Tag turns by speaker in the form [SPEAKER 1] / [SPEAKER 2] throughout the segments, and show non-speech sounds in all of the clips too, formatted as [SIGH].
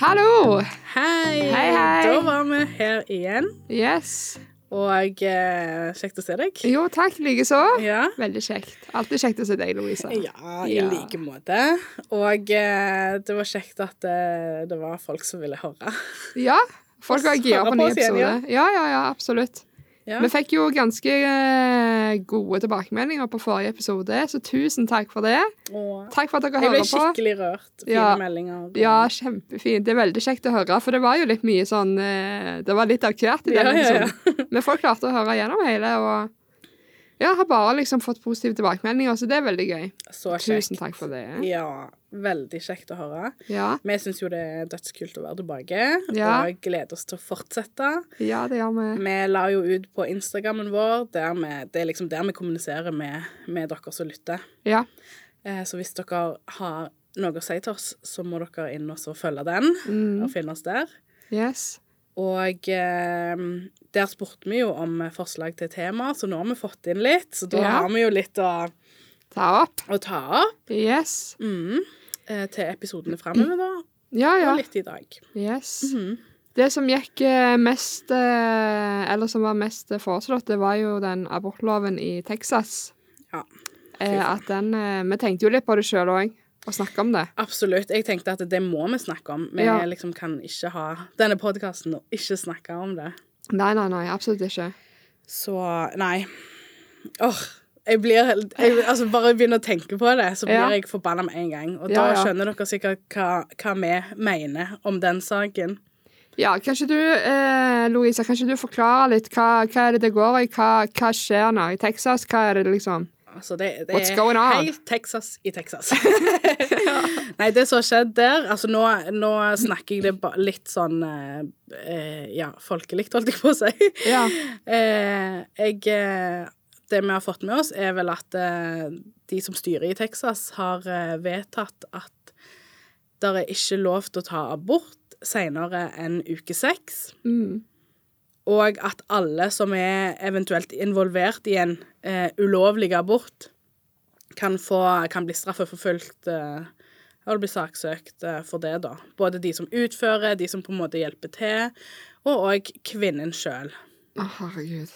[SPEAKER 1] Hallo!
[SPEAKER 2] Hei!
[SPEAKER 1] Hei, hei.
[SPEAKER 2] Da var vi her igjen,
[SPEAKER 1] Yes.
[SPEAKER 2] og eh, kjekt å se deg.
[SPEAKER 1] Jo, takk likeså.
[SPEAKER 2] Ja.
[SPEAKER 1] Veldig kjekt. Alltid kjekt å se deg, Louise.
[SPEAKER 2] Ja, i
[SPEAKER 1] Ja.
[SPEAKER 2] like måte. Og eh, det var kjekt at eh, det var folk som ville høre.
[SPEAKER 1] Ja, folk var
[SPEAKER 2] Og
[SPEAKER 1] gira
[SPEAKER 2] svare
[SPEAKER 1] på nye
[SPEAKER 2] på oss igjen,
[SPEAKER 1] episoder.
[SPEAKER 2] ja.
[SPEAKER 1] Ja, ja, ja, absolutt.
[SPEAKER 2] Ja.
[SPEAKER 1] Vi fikk jo ganske eh, gode tilbakemeldinger på forrige episode, så tusen takk for det.
[SPEAKER 2] Og
[SPEAKER 1] Takk for at dere
[SPEAKER 2] jeg ble
[SPEAKER 1] hører på.
[SPEAKER 2] skikkelig rørt. Fine
[SPEAKER 1] Ja.
[SPEAKER 2] meldinger. og-
[SPEAKER 1] Ja, kjempefint. Det er veldig kjekt å høre, for det var jo litt mye sånn eh, Det var litt av hvert i den
[SPEAKER 2] Ja, ja, ja.
[SPEAKER 1] episoden. Men folk klarte å høre gjennom hele, og ja, har bare liksom fått positive tilbakemeldinger, så det er veldig gøy.
[SPEAKER 2] Så kjekt.
[SPEAKER 1] Tusen takk for det.
[SPEAKER 2] Ja, veldig kjekt å høre.
[SPEAKER 1] Ja,
[SPEAKER 2] Vi syns jo det er dødskult å være tilbake,
[SPEAKER 1] Ja.
[SPEAKER 2] og gleder oss til å fortsette.
[SPEAKER 1] ja det gjør vi.
[SPEAKER 2] Vi la jo ut på Instagrammen vår, der vi, det er liksom der vi kommuniserer med, med dere som lytter.
[SPEAKER 1] Ja.
[SPEAKER 2] Eh, Så hvis dere har noe å si til oss, så må dere inn og så følge den
[SPEAKER 1] Mm.
[SPEAKER 2] og finne oss der.
[SPEAKER 1] Yes.
[SPEAKER 2] Og eh, der spurte vi jo om forslag til tema, så nå har vi fått inn litt. Så da
[SPEAKER 1] Ja.
[SPEAKER 2] har vi jo litt å,
[SPEAKER 1] Ta opp.
[SPEAKER 2] å ta opp
[SPEAKER 1] Yes.
[SPEAKER 2] mm, eh, til episodene framover, da.
[SPEAKER 1] Ja, ja.
[SPEAKER 2] Og litt i dag.
[SPEAKER 1] Yes.
[SPEAKER 2] Mhm.
[SPEAKER 1] Det som gikk eh, mest, eh, eller som var mest eh, foreslått, det var jo den abortloven i Texas.
[SPEAKER 2] Ja.
[SPEAKER 1] Eh, at den, eh, vi tenkte jo litt på det sjøl òg, og snakka om det.
[SPEAKER 2] Absolutt. Jeg tenkte at det må vi snakke om. Vi
[SPEAKER 1] Ja.
[SPEAKER 2] liksom kan ikke ha denne podkasten og ikke snakke om det.
[SPEAKER 1] Nei, nei, nei, absolutt ikke.
[SPEAKER 2] Så nei. Åh, jeg blir jeg, altså Bare begynn å tenke på det, så blir
[SPEAKER 1] Ja.
[SPEAKER 2] jeg forbanna med en gang. Og
[SPEAKER 1] Ja,
[SPEAKER 2] da
[SPEAKER 1] ja.
[SPEAKER 2] skjønner dere sikkert hva, hva vi mener om den saken.
[SPEAKER 1] Ja, kanskje du, eh, Louisa, kanskje du forklarer litt hva, hva er det det går i? Hva, hva skjer nå i Texas? Hva er det liksom
[SPEAKER 2] Altså, det, det
[SPEAKER 1] What's going on?
[SPEAKER 2] er helt Texas i Texas. [LAUGHS] Nei, det som har skjedd der Altså, nå, nå snakker jeg det ba, litt sånn eh, eh, Ja, folkelig, holdt jeg på å si.
[SPEAKER 1] Ja.
[SPEAKER 2] [LAUGHS] Eh, jeg, eh, det vi har fått med oss, er vel at eh, de som styrer i Texas, har eh, vedtatt at det er ikke lov til å ta abort senere enn uke seks.
[SPEAKER 1] Mm.
[SPEAKER 2] Og at alle som er eventuelt involvert i en eh, ulovlig abort, kan, få, kan bli straffeforfulgt eh, og bli saksøkt eh, for det, da. Både de som utfører, de som på en måte hjelper til, og òg kvinnen sjøl.
[SPEAKER 1] Å, herregud.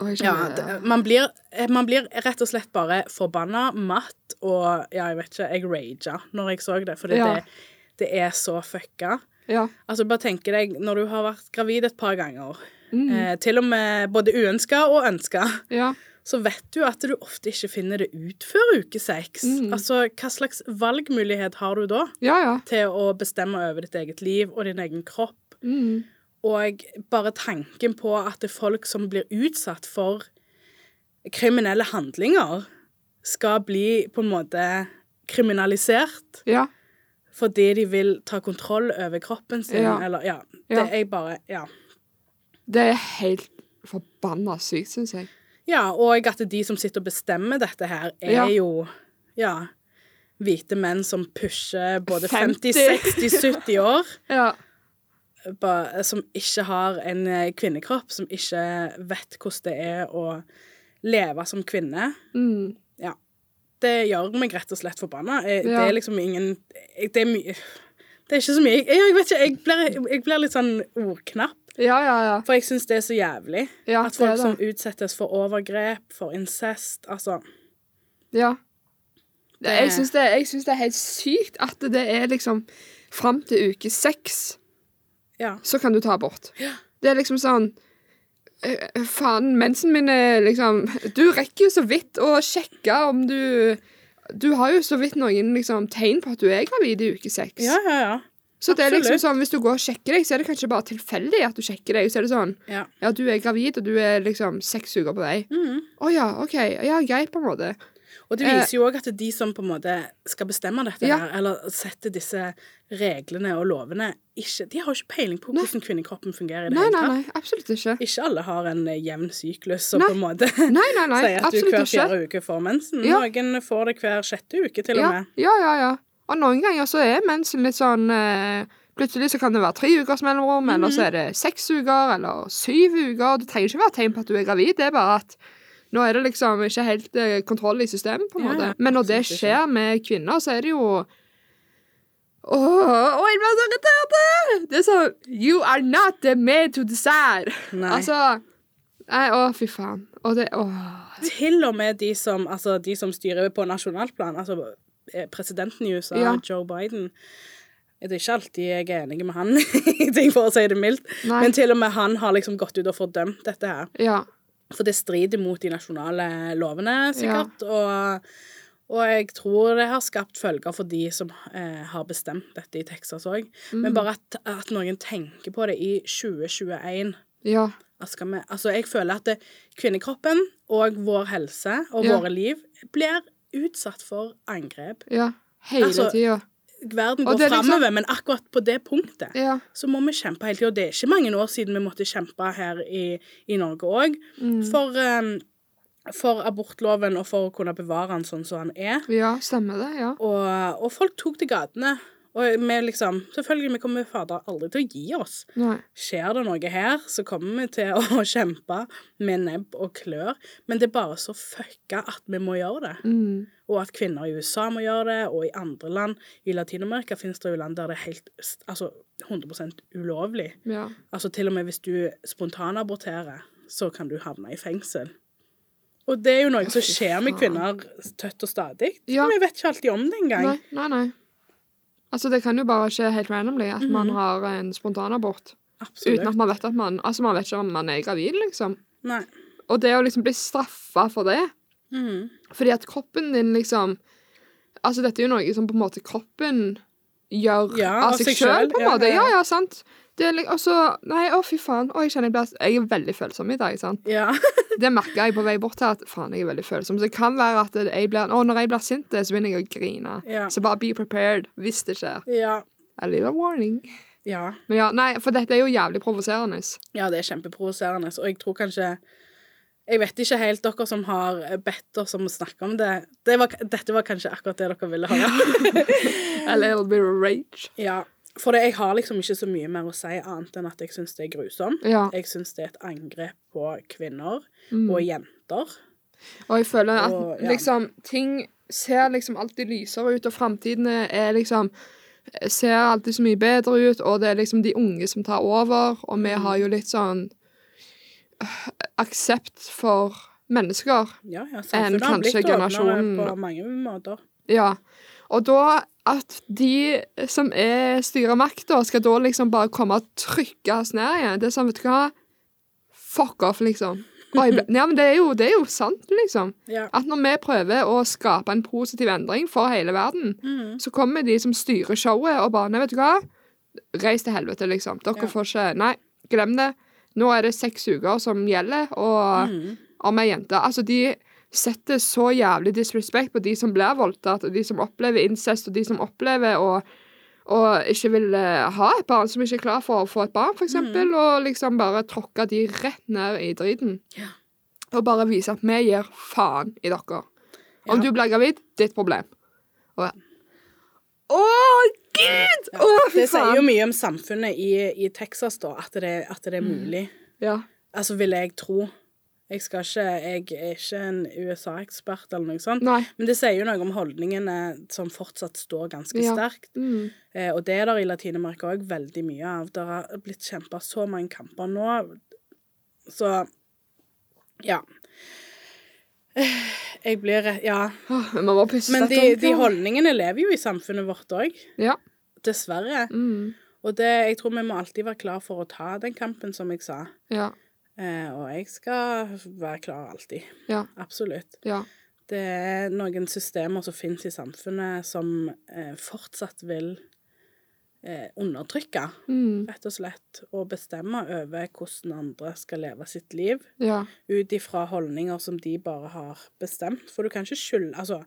[SPEAKER 1] Å, jeg
[SPEAKER 2] Ja,
[SPEAKER 1] skjønner
[SPEAKER 2] det, man, blir, eh, man blir rett og slett bare forbanna, matt og Ja, jeg vet ikke, jeg raga når jeg så det, fordi
[SPEAKER 1] Ja.
[SPEAKER 2] det, det er så fucka.
[SPEAKER 1] Ja.
[SPEAKER 2] Altså, bare tenk deg når du har vært gravid et par ganger,
[SPEAKER 1] Mm.
[SPEAKER 2] eh, til og med både uønska og ønska,
[SPEAKER 1] ja.
[SPEAKER 2] så vet du at du ofte ikke finner det ut før uke seks.
[SPEAKER 1] Mm.
[SPEAKER 2] Altså, hva slags valgmulighet har du da
[SPEAKER 1] Ja, ja.
[SPEAKER 2] til å bestemme over ditt eget liv og din egen kropp?
[SPEAKER 1] Mm.
[SPEAKER 2] Og bare tanken på at det er folk som blir utsatt for kriminelle handlinger, skal bli på en måte kriminalisert
[SPEAKER 1] Ja.
[SPEAKER 2] fordi de vil ta kontroll over kroppen sin,
[SPEAKER 1] Ja.
[SPEAKER 2] eller Ja. Det
[SPEAKER 1] Ja.
[SPEAKER 2] er bare Ja.
[SPEAKER 1] Det er helt forbanna sykt, syns jeg.
[SPEAKER 2] Ja, og at de som sitter og bestemmer dette her, er
[SPEAKER 1] Ja.
[SPEAKER 2] jo ja, hvite menn som pusher både
[SPEAKER 1] 50,
[SPEAKER 2] 50, 60, 70 år,
[SPEAKER 1] Ja.
[SPEAKER 2] ba- som ikke har en eh, kvinnekropp, som ikke vet hvordan det er å leve som kvinne.
[SPEAKER 1] Mm.
[SPEAKER 2] Det gjør meg rett og slett forbanna. Eh, Det
[SPEAKER 1] Ja.
[SPEAKER 2] er liksom ingen Det er mye det er ikke så mye Jeg, jeg vet ikke, jeg blir, jeg blir litt sånn ordknapp.
[SPEAKER 1] Ja, ja, ja.
[SPEAKER 2] For jeg syns det er så jævlig.
[SPEAKER 1] ja
[SPEAKER 2] At folk
[SPEAKER 1] det er
[SPEAKER 2] som
[SPEAKER 1] det.
[SPEAKER 2] utsettes for overgrep, for incest Altså.
[SPEAKER 1] Ja. Det, jeg
[SPEAKER 2] Det-
[SPEAKER 1] syns det, jeg synes det er helt sykt at det er liksom Fram til uke seks,
[SPEAKER 2] Ja.
[SPEAKER 1] så kan du ta abort. Det er liksom sånn eh, Faen, mensen min er liksom Du rekker jo så vidt å sjekke om du Du har jo så vidt noen liksom, tegn på at du er gravid i uke seks.
[SPEAKER 2] Ja, ja, ja.
[SPEAKER 1] så det er liksom
[SPEAKER 2] absolutt.
[SPEAKER 1] sånn, hvis du går og sjekker deg, så er det kanskje bare tilfeldig at du sjekker deg. Så er det sånn
[SPEAKER 2] Ja.
[SPEAKER 1] Ja, du er gravid, og du er liksom seks uker på vei. Å
[SPEAKER 2] Mm.
[SPEAKER 1] ja, OK. Ja, greit, på en måte.
[SPEAKER 2] Og det viser jo òg at de som på en måte skal bestemme dette,
[SPEAKER 1] Eh. Ja.
[SPEAKER 2] her, eller sette disse reglene og lovene, ikke, de har jo ikke peiling på hvordan kvinnekroppen fungerer. i det
[SPEAKER 1] Nei,
[SPEAKER 2] hele
[SPEAKER 1] nei,
[SPEAKER 2] tatt.
[SPEAKER 1] nei. Absolutt ikke.
[SPEAKER 2] Ikke alle har en eh, jevn syklus som
[SPEAKER 1] Nei.
[SPEAKER 2] på en måte [LAUGHS]
[SPEAKER 1] Nei, nei, nei.
[SPEAKER 2] sier at du
[SPEAKER 1] Absolutt
[SPEAKER 2] hver
[SPEAKER 1] ikke.
[SPEAKER 2] fjerde uke får mensen.
[SPEAKER 1] Ja.
[SPEAKER 2] Noen får det hver sjette uke, til og
[SPEAKER 1] Ja,
[SPEAKER 2] med.
[SPEAKER 1] ja, ja, ja. Og noen ganger så er mensen litt sånn eh, Plutselig så kan det være tre ukers mellomrom, eller
[SPEAKER 2] Mhm.
[SPEAKER 1] så er det seks uker, eller syv uker. Det trenger ikke være tegn på at du er gravid, det er bare at nå er det liksom ikke helt eh, kontroll i systemet, på en
[SPEAKER 2] Ja,
[SPEAKER 1] måte.
[SPEAKER 2] ja,
[SPEAKER 1] Men når det
[SPEAKER 2] absolutt ikke.
[SPEAKER 1] skjer med kvinner, så er det jo Åh, åh, jeg ble så irritert! Det er sånn You are not the man to decide.
[SPEAKER 2] Nei.
[SPEAKER 1] Altså Nei, å, fy faen. Og det Åh.
[SPEAKER 2] Til og med de som, altså, de som styrer på nasjonalt plan, altså eh, presidenten i USA,
[SPEAKER 1] Ja.
[SPEAKER 2] Joe Biden Det er ikke alltid jeg er enig med han [LAUGHS] i ting, for å si det mildt.
[SPEAKER 1] Nei.
[SPEAKER 2] Men til og med han har liksom gått ut og fordømt dette her.
[SPEAKER 1] Ja.
[SPEAKER 2] For det strider mot de nasjonale lovene, sikkert. Og, og jeg tror det har skapt følger for de som eh, har bestemt dette i Texas òg.
[SPEAKER 1] Mm.
[SPEAKER 2] Men bare at, at noen tenker på det i 2021
[SPEAKER 1] Ja.
[SPEAKER 2] at skal vi, altså Jeg føler at det, kvinnekroppen og vår helse og
[SPEAKER 1] Ja.
[SPEAKER 2] våre liv blir utsatt for angrep.
[SPEAKER 1] ja. Hele
[SPEAKER 2] Altså,
[SPEAKER 1] tida.
[SPEAKER 2] Verden
[SPEAKER 1] Og
[SPEAKER 2] går
[SPEAKER 1] det er liksom-
[SPEAKER 2] framover, men akkurat på det punktet
[SPEAKER 1] Ja.
[SPEAKER 2] så må vi kjempe hele tida. Og det er ikke mange år siden vi måtte kjempe her i, i Norge òg.
[SPEAKER 1] Mm.
[SPEAKER 2] For, eh, for abortloven og for å kunne bevare den sånn som den er.
[SPEAKER 1] ja, stemmer det. Ja.
[SPEAKER 2] Og, og folk tok til gatene. Og vi liksom Selvfølgelig, vi kommer fader aldri til å gi oss.
[SPEAKER 1] Nei.
[SPEAKER 2] Skjer det noe her, så kommer vi til å [LAUGHS] kjempe med nebb og klør. Men det er bare så fucka at vi må gjøre det.
[SPEAKER 1] Mm.
[SPEAKER 2] Og at kvinner i USA må gjøre det, og i andre land. I Latin-Amerika finnes det jo land der det er helt s- altså 100 ulovlig.
[SPEAKER 1] Ja.
[SPEAKER 2] Altså til og med hvis du spontanaborterer, så kan du havne i fengsel. Og det er jo noe som
[SPEAKER 1] fy
[SPEAKER 2] skjer med
[SPEAKER 1] faen.
[SPEAKER 2] kvinner tøtt og stadig.
[SPEAKER 1] Ja.
[SPEAKER 2] Vi vet ikke alltid om det engang.
[SPEAKER 1] Nei, nei, nei. Altså, det kan jo bare skje helt randomly at man har en spontanabort. Uten at
[SPEAKER 2] Absolutt.
[SPEAKER 1] man vet at man Altså, man vet ikke om man er gravid, liksom.
[SPEAKER 2] Nei.
[SPEAKER 1] Og det å liksom bli straffa for det
[SPEAKER 2] Mhm.
[SPEAKER 1] Fordi at kroppen din liksom Altså, dette er jo noe som på en måte kroppen gjør
[SPEAKER 2] Ja,
[SPEAKER 1] av seg sjøl, på en
[SPEAKER 2] ja,
[SPEAKER 1] måte.
[SPEAKER 2] ja,
[SPEAKER 1] Ja,
[SPEAKER 2] ja.
[SPEAKER 1] ja, sant. Det er li- og så Nei, å, fy faen. Å, jeg kjenner jeg blir Jeg er veldig følsom i dag, sant.
[SPEAKER 2] Ja. [LAUGHS]
[SPEAKER 1] Det merka jeg på vei bort her, at faen, jeg er veldig følsom. Så det kan være at jeg blir Å, når jeg blir sint, så begynner jeg å grine.
[SPEAKER 2] Ja.
[SPEAKER 1] Så bare be prepared hvis det skjer.
[SPEAKER 2] ja.
[SPEAKER 1] A little warning.
[SPEAKER 2] Ja.
[SPEAKER 1] Men ja, nei, for dette er jo jævlig provoserende.
[SPEAKER 2] Ja, det er kjempeprovoserende. Og jeg tror kanskje Jeg vet ikke helt dere som har bedt oss om å snakke om det. det var, dette var kanskje akkurat det dere ville høre.
[SPEAKER 1] A little bit of rage.
[SPEAKER 2] [LAUGHS] Ja. For det, jeg har liksom ikke så mye mer å si annet enn at jeg syns det er grusomt.
[SPEAKER 1] Ja.
[SPEAKER 2] Jeg syns det er et angrep på kvinner
[SPEAKER 1] Mm.
[SPEAKER 2] og jenter.
[SPEAKER 1] Og jeg føler at
[SPEAKER 2] Og, ja.
[SPEAKER 1] liksom ting ser liksom alltid lysere ut, og framtiden er liksom Ser alltid så mye bedre ut, og det er liksom de unge som tar over, og vi har jo litt sånn øh, aksept for mennesker.
[SPEAKER 2] Ja, ja,
[SPEAKER 1] Enn
[SPEAKER 2] samfunnet har blitt
[SPEAKER 1] kanskje
[SPEAKER 2] åpnere
[SPEAKER 1] generasjonen-
[SPEAKER 2] på mange måter.
[SPEAKER 1] Ja. Og da at de som er styrer makta, skal da liksom bare komme og trykke oss ned igjen. Det er sånn, vet du hva Fuck off, liksom. Og jeg ble, ja, men det er, jo, det er jo sant, liksom.
[SPEAKER 2] Ja.
[SPEAKER 1] At når vi prøver å skape en positiv endring for hele verden,
[SPEAKER 2] Mhm.
[SPEAKER 1] så kommer de som styrer showet og bare Nei, vet du hva? Reis til helvete, liksom. Dere
[SPEAKER 2] Ja.
[SPEAKER 1] får ikke Nei, glem det. Nå er det seks uker som gjelder, og
[SPEAKER 2] Mhm.
[SPEAKER 1] om ei jente Altså, de setter så jævlig disrespekt på de som blir voldtatt, og de som opplever incest, og de som opplever å og ikke vil eh, ha et barn som ikke er klar for å få et barn, f.eks., eksempel
[SPEAKER 2] Mm.
[SPEAKER 1] og liksom bare tråkke de rett ned i driten.
[SPEAKER 2] Ja.
[SPEAKER 1] Og bare vise at vi gir faen i dere. Om
[SPEAKER 2] Ja.
[SPEAKER 1] du blir gravid, ditt problem. Og jeg Å, gud! Å, fy
[SPEAKER 2] Det sier jo
[SPEAKER 1] faen!
[SPEAKER 2] mye om samfunnet i, i Texas, da, at det, at det er
[SPEAKER 1] Mm.
[SPEAKER 2] mulig.
[SPEAKER 1] Ja.
[SPEAKER 2] Altså, vil jeg tro. Jeg, skal ikke, jeg er ikke en USA-ekspert eller noe sånt.
[SPEAKER 1] Nei.
[SPEAKER 2] Men det sier jo noe om holdningene som fortsatt står ganske
[SPEAKER 1] Ja.
[SPEAKER 2] sterkt.
[SPEAKER 1] Mm.
[SPEAKER 2] Eh, og det er der i Latin-Amerika òg veldig mye av. Det har blitt kjempa så mange kamper nå. Så ja. Eh, Jeg blir Ja.
[SPEAKER 1] Åh, vi må bare pusse
[SPEAKER 2] Men de,
[SPEAKER 1] dette
[SPEAKER 2] de
[SPEAKER 1] opp,
[SPEAKER 2] holdningene lever jo i samfunnet vårt òg.
[SPEAKER 1] Ja. Ja.
[SPEAKER 2] Dessverre.
[SPEAKER 1] Mm.
[SPEAKER 2] Og det, jeg tror vi må alltid være klar for å ta den kampen, som jeg sa.
[SPEAKER 1] ja.
[SPEAKER 2] Eh, og jeg skal være klar alltid.
[SPEAKER 1] Ja.
[SPEAKER 2] Absolutt.
[SPEAKER 1] Ja.
[SPEAKER 2] Det er noen systemer som finnes i samfunnet som eh, fortsatt vil eh, undertrykke,
[SPEAKER 1] Mm.
[SPEAKER 2] rett og slett, og bestemme over hvordan andre skal leve sitt liv
[SPEAKER 1] Ja.
[SPEAKER 2] ut ifra holdninger som de bare har bestemt. For du kan ikke skylde Altså,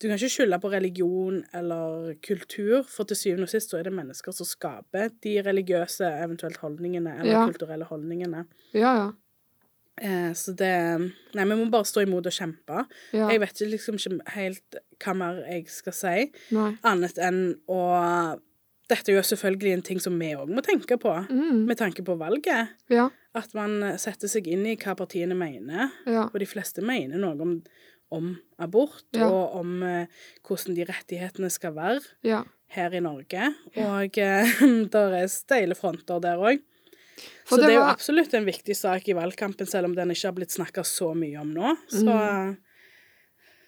[SPEAKER 2] du kan ikke skylde på religion eller kultur, for til syvende og sist så er det mennesker som skaper de religiøse, eventuelt holdningene, eller
[SPEAKER 1] Ja.
[SPEAKER 2] kulturelle holdningene.
[SPEAKER 1] Ja, ja.
[SPEAKER 2] Eh, så det Nei, vi må bare stå imot og kjempe.
[SPEAKER 1] ja.
[SPEAKER 2] Jeg vet ikke liksom ikke helt hva mer jeg skal si,
[SPEAKER 1] Nei.
[SPEAKER 2] annet enn å Dette er jo selvfølgelig en ting som vi òg må tenke på,
[SPEAKER 1] Mm.
[SPEAKER 2] med tanke på valget.
[SPEAKER 1] Ja.
[SPEAKER 2] At man setter seg inn i hva partiene mener.
[SPEAKER 1] Ja.
[SPEAKER 2] Og de fleste mener noe om, om abort,
[SPEAKER 1] Ja.
[SPEAKER 2] og om eh, hvordan de rettighetene skal være
[SPEAKER 1] Ja.
[SPEAKER 2] her i Norge.
[SPEAKER 1] Ja.
[SPEAKER 2] Og [LAUGHS] der er steile fronter der òg.
[SPEAKER 1] For
[SPEAKER 2] Så det,
[SPEAKER 1] det
[SPEAKER 2] er jo
[SPEAKER 1] var-
[SPEAKER 2] absolutt en viktig sak i valgkampen, selv om den ikke har blitt snakka så mye om nå. Så,
[SPEAKER 1] Mm.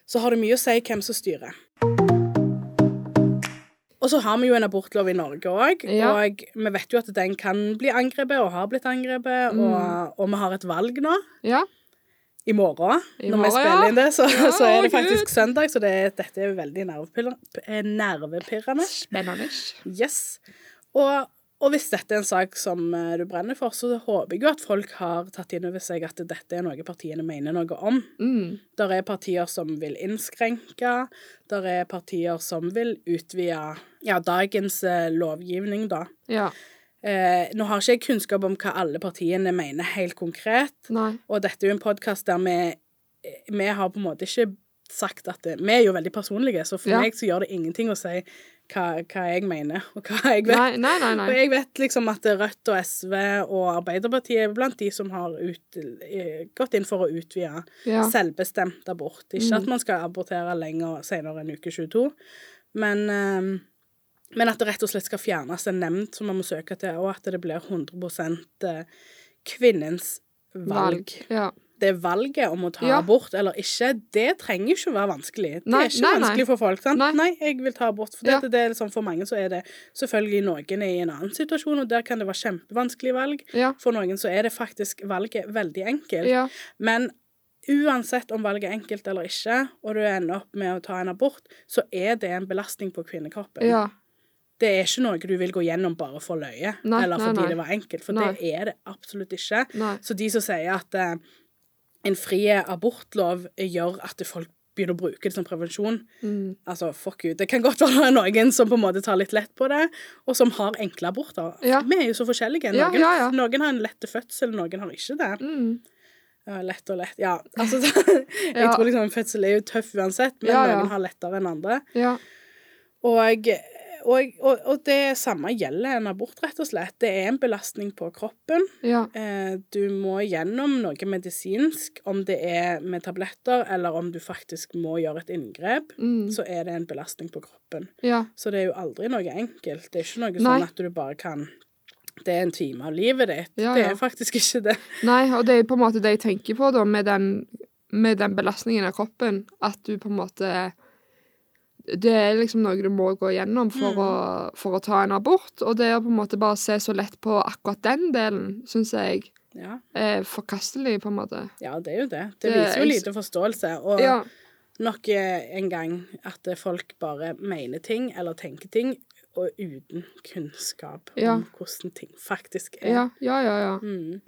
[SPEAKER 2] så har det mye å si hvem som styrer. Og så har vi jo en abortlov i Norge òg,
[SPEAKER 1] Ja.
[SPEAKER 2] og vi vet jo at den kan bli angrepet, og har blitt
[SPEAKER 1] Mm.
[SPEAKER 2] angrepet, og, og vi har et valg nå.
[SPEAKER 1] ja.
[SPEAKER 2] I morgen,
[SPEAKER 1] I
[SPEAKER 2] når vi
[SPEAKER 1] morgen,
[SPEAKER 2] spiller
[SPEAKER 1] ja.
[SPEAKER 2] inn det, så,
[SPEAKER 1] Ja,
[SPEAKER 2] så er
[SPEAKER 1] å,
[SPEAKER 2] det
[SPEAKER 1] Gud.
[SPEAKER 2] faktisk søndag, så det, dette er jo veldig nervepirra- eh, nervepirrende.
[SPEAKER 1] Spennende.
[SPEAKER 2] Yes. Og, og hvis dette er en sak som eh, du brenner for, så håper jeg jo at folk har tatt inn over seg at dette er noe partiene mener noe om.
[SPEAKER 1] Mm.
[SPEAKER 2] Der er partier som vil innskrenke, der er partier som vil utvide ja, dagens eh, lovgivning, da.
[SPEAKER 1] Ja.
[SPEAKER 2] Eh, nå har ikke jeg kunnskap om hva alle partiene mener helt konkret,
[SPEAKER 1] Nei.
[SPEAKER 2] og dette er jo en podkast der vi, vi har på en måte ikke sagt at det, Vi er jo veldig personlige, så for
[SPEAKER 1] Ja.
[SPEAKER 2] meg så gjør det ingenting å si hva, hva jeg mener, og hva jeg vet.
[SPEAKER 1] Nei, nei, nei.
[SPEAKER 2] Og
[SPEAKER 1] nei.
[SPEAKER 2] jeg vet liksom at Rødt og SV og Arbeiderpartiet er blant de som har ut, eh, gått inn for å utvide
[SPEAKER 1] Ja. Mm.
[SPEAKER 2] selvbestemt abort. Ikke at man skal abortere lenger senere enn uke 22, men, eh, men at det rett og slett skal fjernes en nemnd som man må søke til, og at det blir 100 eh, kvinnens valg.
[SPEAKER 1] Ja.
[SPEAKER 2] Det valget om å ta
[SPEAKER 1] Ja.
[SPEAKER 2] abort eller ikke, det trenger ikke å være vanskelig. Det
[SPEAKER 1] Nei,
[SPEAKER 2] er ikke
[SPEAKER 1] nei, nei.
[SPEAKER 2] vanskelig for folk. sant?
[SPEAKER 1] Nei.
[SPEAKER 2] Nei, jeg vil ta abort. For,
[SPEAKER 1] Ja.
[SPEAKER 2] dette, det er liksom, for mange så er det selvfølgelig noen er i en annen situasjon, og der kan det være kjempevanskelig valg.
[SPEAKER 1] Ja.
[SPEAKER 2] For noen så er det faktisk valget veldig enkelt.
[SPEAKER 1] Ja.
[SPEAKER 2] Men uansett om valget er enkelt eller ikke, og du ender opp med å ta en abort, så er det en belastning på kvinnekroppen.
[SPEAKER 1] ja.
[SPEAKER 2] Det er ikke noe du vil gå gjennom bare for løye,
[SPEAKER 1] Nei,
[SPEAKER 2] eller
[SPEAKER 1] nei,
[SPEAKER 2] fordi
[SPEAKER 1] nei.
[SPEAKER 2] det var enkelt, for
[SPEAKER 1] Nei.
[SPEAKER 2] det er det absolutt ikke.
[SPEAKER 1] Nei.
[SPEAKER 2] Så de som sier at eh, en fri abortlov gjør at folk begynner å bruke det som prevensjon,
[SPEAKER 1] Mm.
[SPEAKER 2] altså fuck you. Det kan godt være det er noen som på en måte tar litt lett på det, og som har enkle aborter.
[SPEAKER 1] Ja.
[SPEAKER 2] Vi er jo så forskjellige.
[SPEAKER 1] Ja,
[SPEAKER 2] Noen,
[SPEAKER 1] ja, ja.
[SPEAKER 2] noen har en lett fødsel, noen har ikke det.
[SPEAKER 1] Mm.
[SPEAKER 2] Ja, lett og lett. Ja,
[SPEAKER 1] [LAUGHS]
[SPEAKER 2] altså [LAUGHS] Jeg
[SPEAKER 1] Ja.
[SPEAKER 2] tror liksom fødsel er jo tøff uansett, men
[SPEAKER 1] Ja, ja.
[SPEAKER 2] noen har lettere enn andre.
[SPEAKER 1] Ja.
[SPEAKER 2] Og, og, og, og det samme gjelder en abort, rett og slett. Det er en belastning på kroppen.
[SPEAKER 1] Ja.
[SPEAKER 2] Eh, Du må gjennom noe medisinsk, om det er med tabletter eller om du faktisk må gjøre et inngrep,
[SPEAKER 1] Mm.
[SPEAKER 2] så er det en belastning på kroppen.
[SPEAKER 1] Ja.
[SPEAKER 2] Så det er jo aldri noe enkelt. Det er ikke noe
[SPEAKER 1] Nei.
[SPEAKER 2] sånn at du bare kan Det er en time av livet ditt.
[SPEAKER 1] Ja,
[SPEAKER 2] Det
[SPEAKER 1] ja.
[SPEAKER 2] er faktisk ikke det.
[SPEAKER 1] Nei, og det er på en måte det jeg tenker på da, med den, med den belastningen av kroppen, at du på en måte Det er liksom noe du må gå gjennom
[SPEAKER 2] Mm.
[SPEAKER 1] for, å, for å ta en abort, og det å på en måte bare se så lett på akkurat den delen, syns jeg
[SPEAKER 2] Ja,
[SPEAKER 1] er forkastelig, på en måte.
[SPEAKER 2] ja det er jo det.
[SPEAKER 1] Det-
[SPEAKER 2] Det viser jo
[SPEAKER 1] jeg-
[SPEAKER 2] lite forståelse. Og
[SPEAKER 1] Ja.
[SPEAKER 2] nok eh, en gang at folk bare mener ting eller tenker ting, og uten kunnskap
[SPEAKER 1] Ja.
[SPEAKER 2] om hvordan ting faktisk er.
[SPEAKER 1] Ja, ja, ja. ja.
[SPEAKER 2] Mm.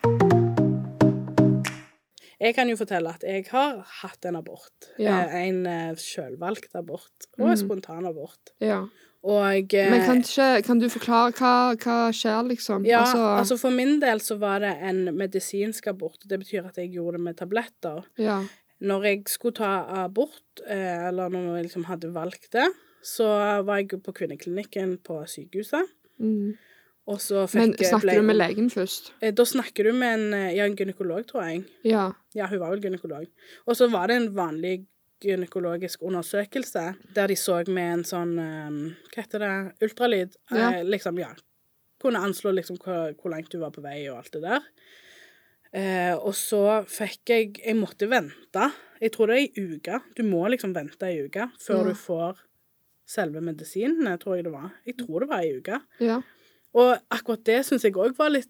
[SPEAKER 2] Jeg kan jo fortelle at jeg har hatt en abort.
[SPEAKER 1] Ja.
[SPEAKER 2] Eh, En eh, selvvalgt abort og en spontan abort.
[SPEAKER 1] ja.
[SPEAKER 2] Og eh,
[SPEAKER 1] Men kan, ikke, kan du forklare hva, hva skjer, liksom?
[SPEAKER 2] ja, altså, for min del så var det en medisinsk abort. Det betyr at jeg gjorde det med tabletter.
[SPEAKER 1] ja.
[SPEAKER 2] Når jeg skulle ta abort, eh, eller når jeg liksom hadde valgt det, så var jeg jo på kvinneklinikken på sykehuset.
[SPEAKER 1] Mm.
[SPEAKER 2] Og så fikk
[SPEAKER 1] Men
[SPEAKER 2] jeg- ble-
[SPEAKER 1] snakker du med legen først?
[SPEAKER 2] Eh, Da snakker du med en, eh, ja, en gynekolog, tror jeg.
[SPEAKER 1] Ja.
[SPEAKER 2] Ja, hun var vel gynekolog. Og så var det en vanlig gynekologisk undersøkelse der de så med en sånn eh, Hva heter det? Ultralyd. Eh,
[SPEAKER 1] Ja.
[SPEAKER 2] Liksom, ja. Kunne anslå liksom hvor, hvor langt du var på vei og alt det der. Eh, og så fikk jeg Jeg måtte vente. Jeg tror det er ei uke. Du må liksom vente ei uke før
[SPEAKER 1] Ja.
[SPEAKER 2] du får selve medisinene, tror jeg det var. Jeg tror det var ei uke.
[SPEAKER 1] Ja.
[SPEAKER 2] Og akkurat det syns jeg òg var litt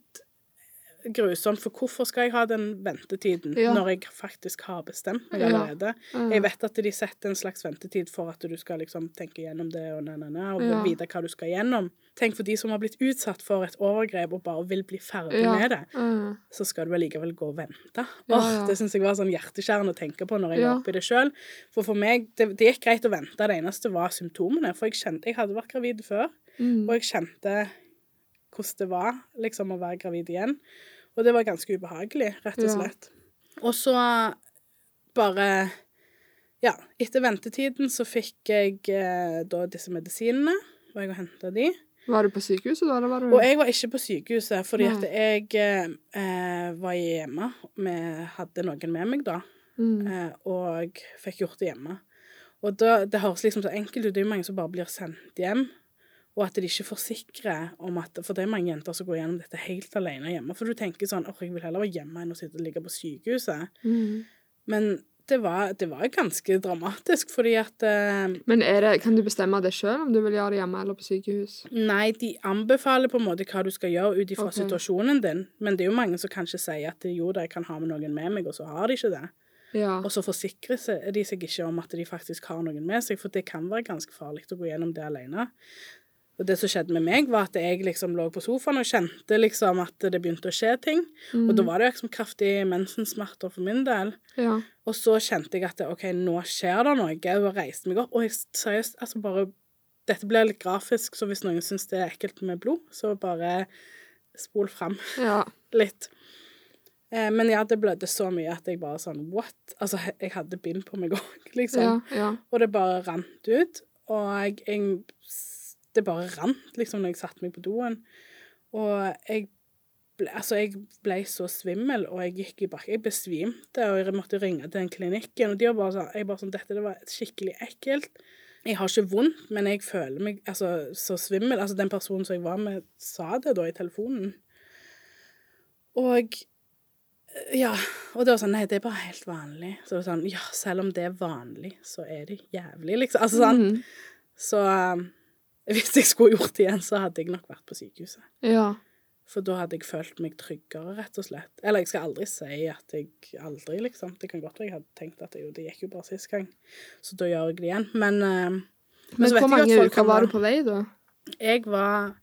[SPEAKER 2] grusomt, for hvorfor skal jeg ha den ventetiden
[SPEAKER 1] Ja.
[SPEAKER 2] når jeg faktisk har bestemt meg
[SPEAKER 1] Ja.
[SPEAKER 2] allerede?
[SPEAKER 1] Ja.
[SPEAKER 2] Jeg vet at de setter en slags ventetid for at du skal liksom tenke gjennom det og, na, na, na, og
[SPEAKER 1] Ja.
[SPEAKER 2] vite hva du skal gjennom. Tenk for de som har blitt utsatt for et overgrep og bare vil bli ferdig
[SPEAKER 1] Ja.
[SPEAKER 2] med det,
[SPEAKER 1] Mm.
[SPEAKER 2] så skal du allikevel gå og vente.
[SPEAKER 1] Ja,
[SPEAKER 2] Åh,
[SPEAKER 1] ja.
[SPEAKER 2] Det syns jeg var sånn hjerteskjærende å tenke på når jeg
[SPEAKER 1] Ja.
[SPEAKER 2] var oppi det sjøl. For for meg, det, det gikk greit å vente, det eneste var symptomene. For jeg kjente, jeg hadde vært gravid før.
[SPEAKER 1] Mm.
[SPEAKER 2] Og jeg kjente hvordan det var liksom å være gravid igjen. Og det var ganske ubehagelig, rett og
[SPEAKER 1] Ja.
[SPEAKER 2] slett. Og så bare Ja, etter ventetiden så fikk jeg eh, da disse medisinene, og jeg henta de.
[SPEAKER 1] Var du på sykehuset da, eller var du
[SPEAKER 2] Og jeg var ikke på sykehuset, fordi
[SPEAKER 1] Mm. Nei.
[SPEAKER 2] at jeg eh, eh, var hjemme. Vi hadde noen med meg da,
[SPEAKER 1] Mm.
[SPEAKER 2] eh, og fikk gjort det hjemme. Og da, Det høres liksom så enkelt ut. Det er jo mange som bare blir sendt hjem. Og at de ikke forsikrer om at For det er mange jenter som går gjennom dette helt alene hjemme. For du tenker sånn åh, jeg vil heller være hjemme enn å sitte og ligge på sykehuset.
[SPEAKER 1] Mm.
[SPEAKER 2] Men det var, det var ganske dramatisk, fordi at eh,
[SPEAKER 1] Men er det, kan du bestemme det sjøl om du vil gjøre det hjemme eller på sykehus?
[SPEAKER 2] Nei, de anbefaler på en måte hva du skal gjøre ut ifra
[SPEAKER 1] Ok.
[SPEAKER 2] situasjonen din. Men det er jo mange som kanskje sier at jo da, jeg kan ha med noen med meg, og så har de ikke det.
[SPEAKER 1] Ja.
[SPEAKER 2] Og så forsikrer se- de seg ikke om at de faktisk har noen med seg, for det kan være ganske farlig å gå gjennom det alene. Og det som skjedde med meg, var at jeg liksom lå på sofaen og kjente liksom at det begynte å skje ting. Og da var det liksom kraftig mensensmerter for min del.
[SPEAKER 1] Mm. ja.
[SPEAKER 2] Og så kjente jeg at det, OK, nå skjer det noe. Jeg reiste meg opp, og jeg seriøst altså bare Dette blir litt grafisk, så hvis noen syns det er ekkelt med blod, så bare spol fram
[SPEAKER 1] ja.
[SPEAKER 2] litt. Eh, men ja, det blødde så mye at jeg bare sånn What? Altså, he- jeg hadde bind på meg òg, [LAUGHS] liksom.
[SPEAKER 1] Ja. Ja.
[SPEAKER 2] Og det bare rant ut. Og jeg, jeg s- Det bare rant, liksom, når jeg satte meg på doen. Og jeg ble, altså, jeg ble så svimmel, og jeg gikk i bakken. Jeg besvimte, og jeg måtte ringe til den klinikken. Og de var bare sånn, jeg bare sånn Dette det var skikkelig ekkelt. Jeg har ikke vondt, men jeg føler meg altså, så svimmel. Altså, den personen som jeg var med, sa det da i telefonen. Og ja, og det var sånn, nei, det er bare helt vanlig. Så det var sånn, ja, selv om det er vanlig, så er det jævlig, liksom. Altså sånn.
[SPEAKER 1] Mhm.
[SPEAKER 2] Så um, hvis jeg skulle gjort det igjen, så hadde jeg nok vært på sykehuset.
[SPEAKER 1] ja.
[SPEAKER 2] For da hadde jeg følt meg tryggere, rett og slett. Eller jeg skal aldri si at jeg aldri, liksom. Det kan godt være jeg hadde tenkt at jo, det gikk jo bare sist gang, så da gjør jeg det igjen. Men, um,
[SPEAKER 1] Men
[SPEAKER 2] så vet
[SPEAKER 1] hvor
[SPEAKER 2] jeg at
[SPEAKER 1] mange
[SPEAKER 2] folk
[SPEAKER 1] uker
[SPEAKER 2] kan
[SPEAKER 1] var
[SPEAKER 2] være-
[SPEAKER 1] du på vei, da?
[SPEAKER 2] jeg var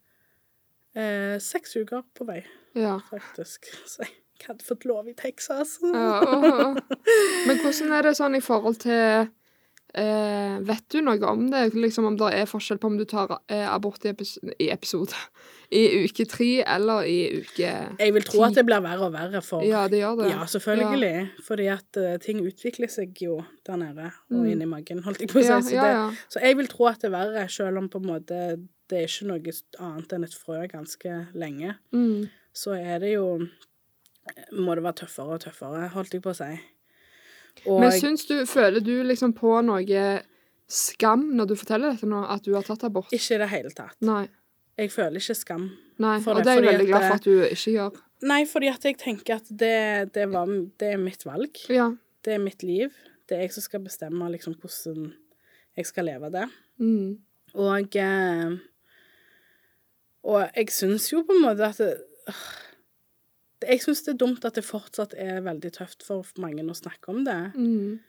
[SPEAKER 2] eh, seks uker på vei, [LAUGHS]
[SPEAKER 1] Ja.
[SPEAKER 2] faktisk. Så jeg hadde fått lov i Texas.
[SPEAKER 1] Ja, åh, åh. Men hvordan er det sånn i forhold til eh, Vet du noe om det? Liksom Om det er forskjell på om du tar eh, abort i, epis i episode I uke tre eller i uke
[SPEAKER 2] Jeg vil tro at det blir verre og verre for
[SPEAKER 1] Ja, det gjør det.
[SPEAKER 2] Ja, selvfølgelig. Fordi at eh, ting utvikler seg jo der nede og
[SPEAKER 1] Mm.
[SPEAKER 2] inni magen, holdt jeg på å si.
[SPEAKER 1] Ja,
[SPEAKER 2] så,
[SPEAKER 1] ja,
[SPEAKER 2] det,
[SPEAKER 1] ja.
[SPEAKER 2] så jeg vil tro at det er verre, selv om på en måte det er ikke noe annet enn et frø ganske lenge.
[SPEAKER 1] Mm.
[SPEAKER 2] Så er det jo eh, Må det være tøffere og tøffere, holdt jeg på å si. Og
[SPEAKER 1] Men syns du, føler du liksom på noe skam når du forteller dette nå, at du har tatt abort?
[SPEAKER 2] ikke i det hele tatt.
[SPEAKER 1] Nei.
[SPEAKER 2] Jeg føler ikke skam.
[SPEAKER 1] Nei.
[SPEAKER 2] For
[SPEAKER 1] og
[SPEAKER 2] det,
[SPEAKER 1] det er jeg
[SPEAKER 2] fordi
[SPEAKER 1] veldig glad
[SPEAKER 2] at,
[SPEAKER 1] for at du ikke gjør.
[SPEAKER 2] Nei, fordi at jeg tenker at det, det, var, det er mitt valg.
[SPEAKER 1] Ja.
[SPEAKER 2] Det er mitt liv. Det er jeg som skal bestemme liksom, hvordan jeg skal leve det.
[SPEAKER 1] Mm.
[SPEAKER 2] Og eh, Og jeg syns jo på en måte at det, øh, det- Jeg syns det er dumt at det fortsatt er veldig tøft for mange å snakke om det.
[SPEAKER 1] Mm.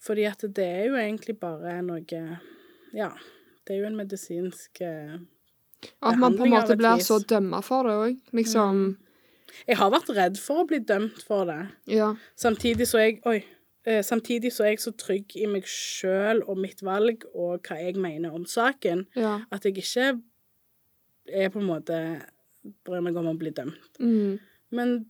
[SPEAKER 2] Fordi at det er jo egentlig bare noe Ja. Det er jo en medisinsk eh,
[SPEAKER 1] Og at man på en
[SPEAKER 2] Behandling av
[SPEAKER 1] måte
[SPEAKER 2] et
[SPEAKER 1] blir
[SPEAKER 2] vis. Mm.
[SPEAKER 1] så dømma for det òg. Liksom.
[SPEAKER 2] Jeg har vært redd for å bli dømt for det.
[SPEAKER 1] Ja.
[SPEAKER 2] Samtidig så er jeg Oi. eh, Samtidig så er jeg så trygg i meg sjøl og mitt valg og hva jeg mener om saken,
[SPEAKER 1] Ja.
[SPEAKER 2] at jeg ikke er på en måte bryr meg om å bli dømt.
[SPEAKER 1] Mm.
[SPEAKER 2] Men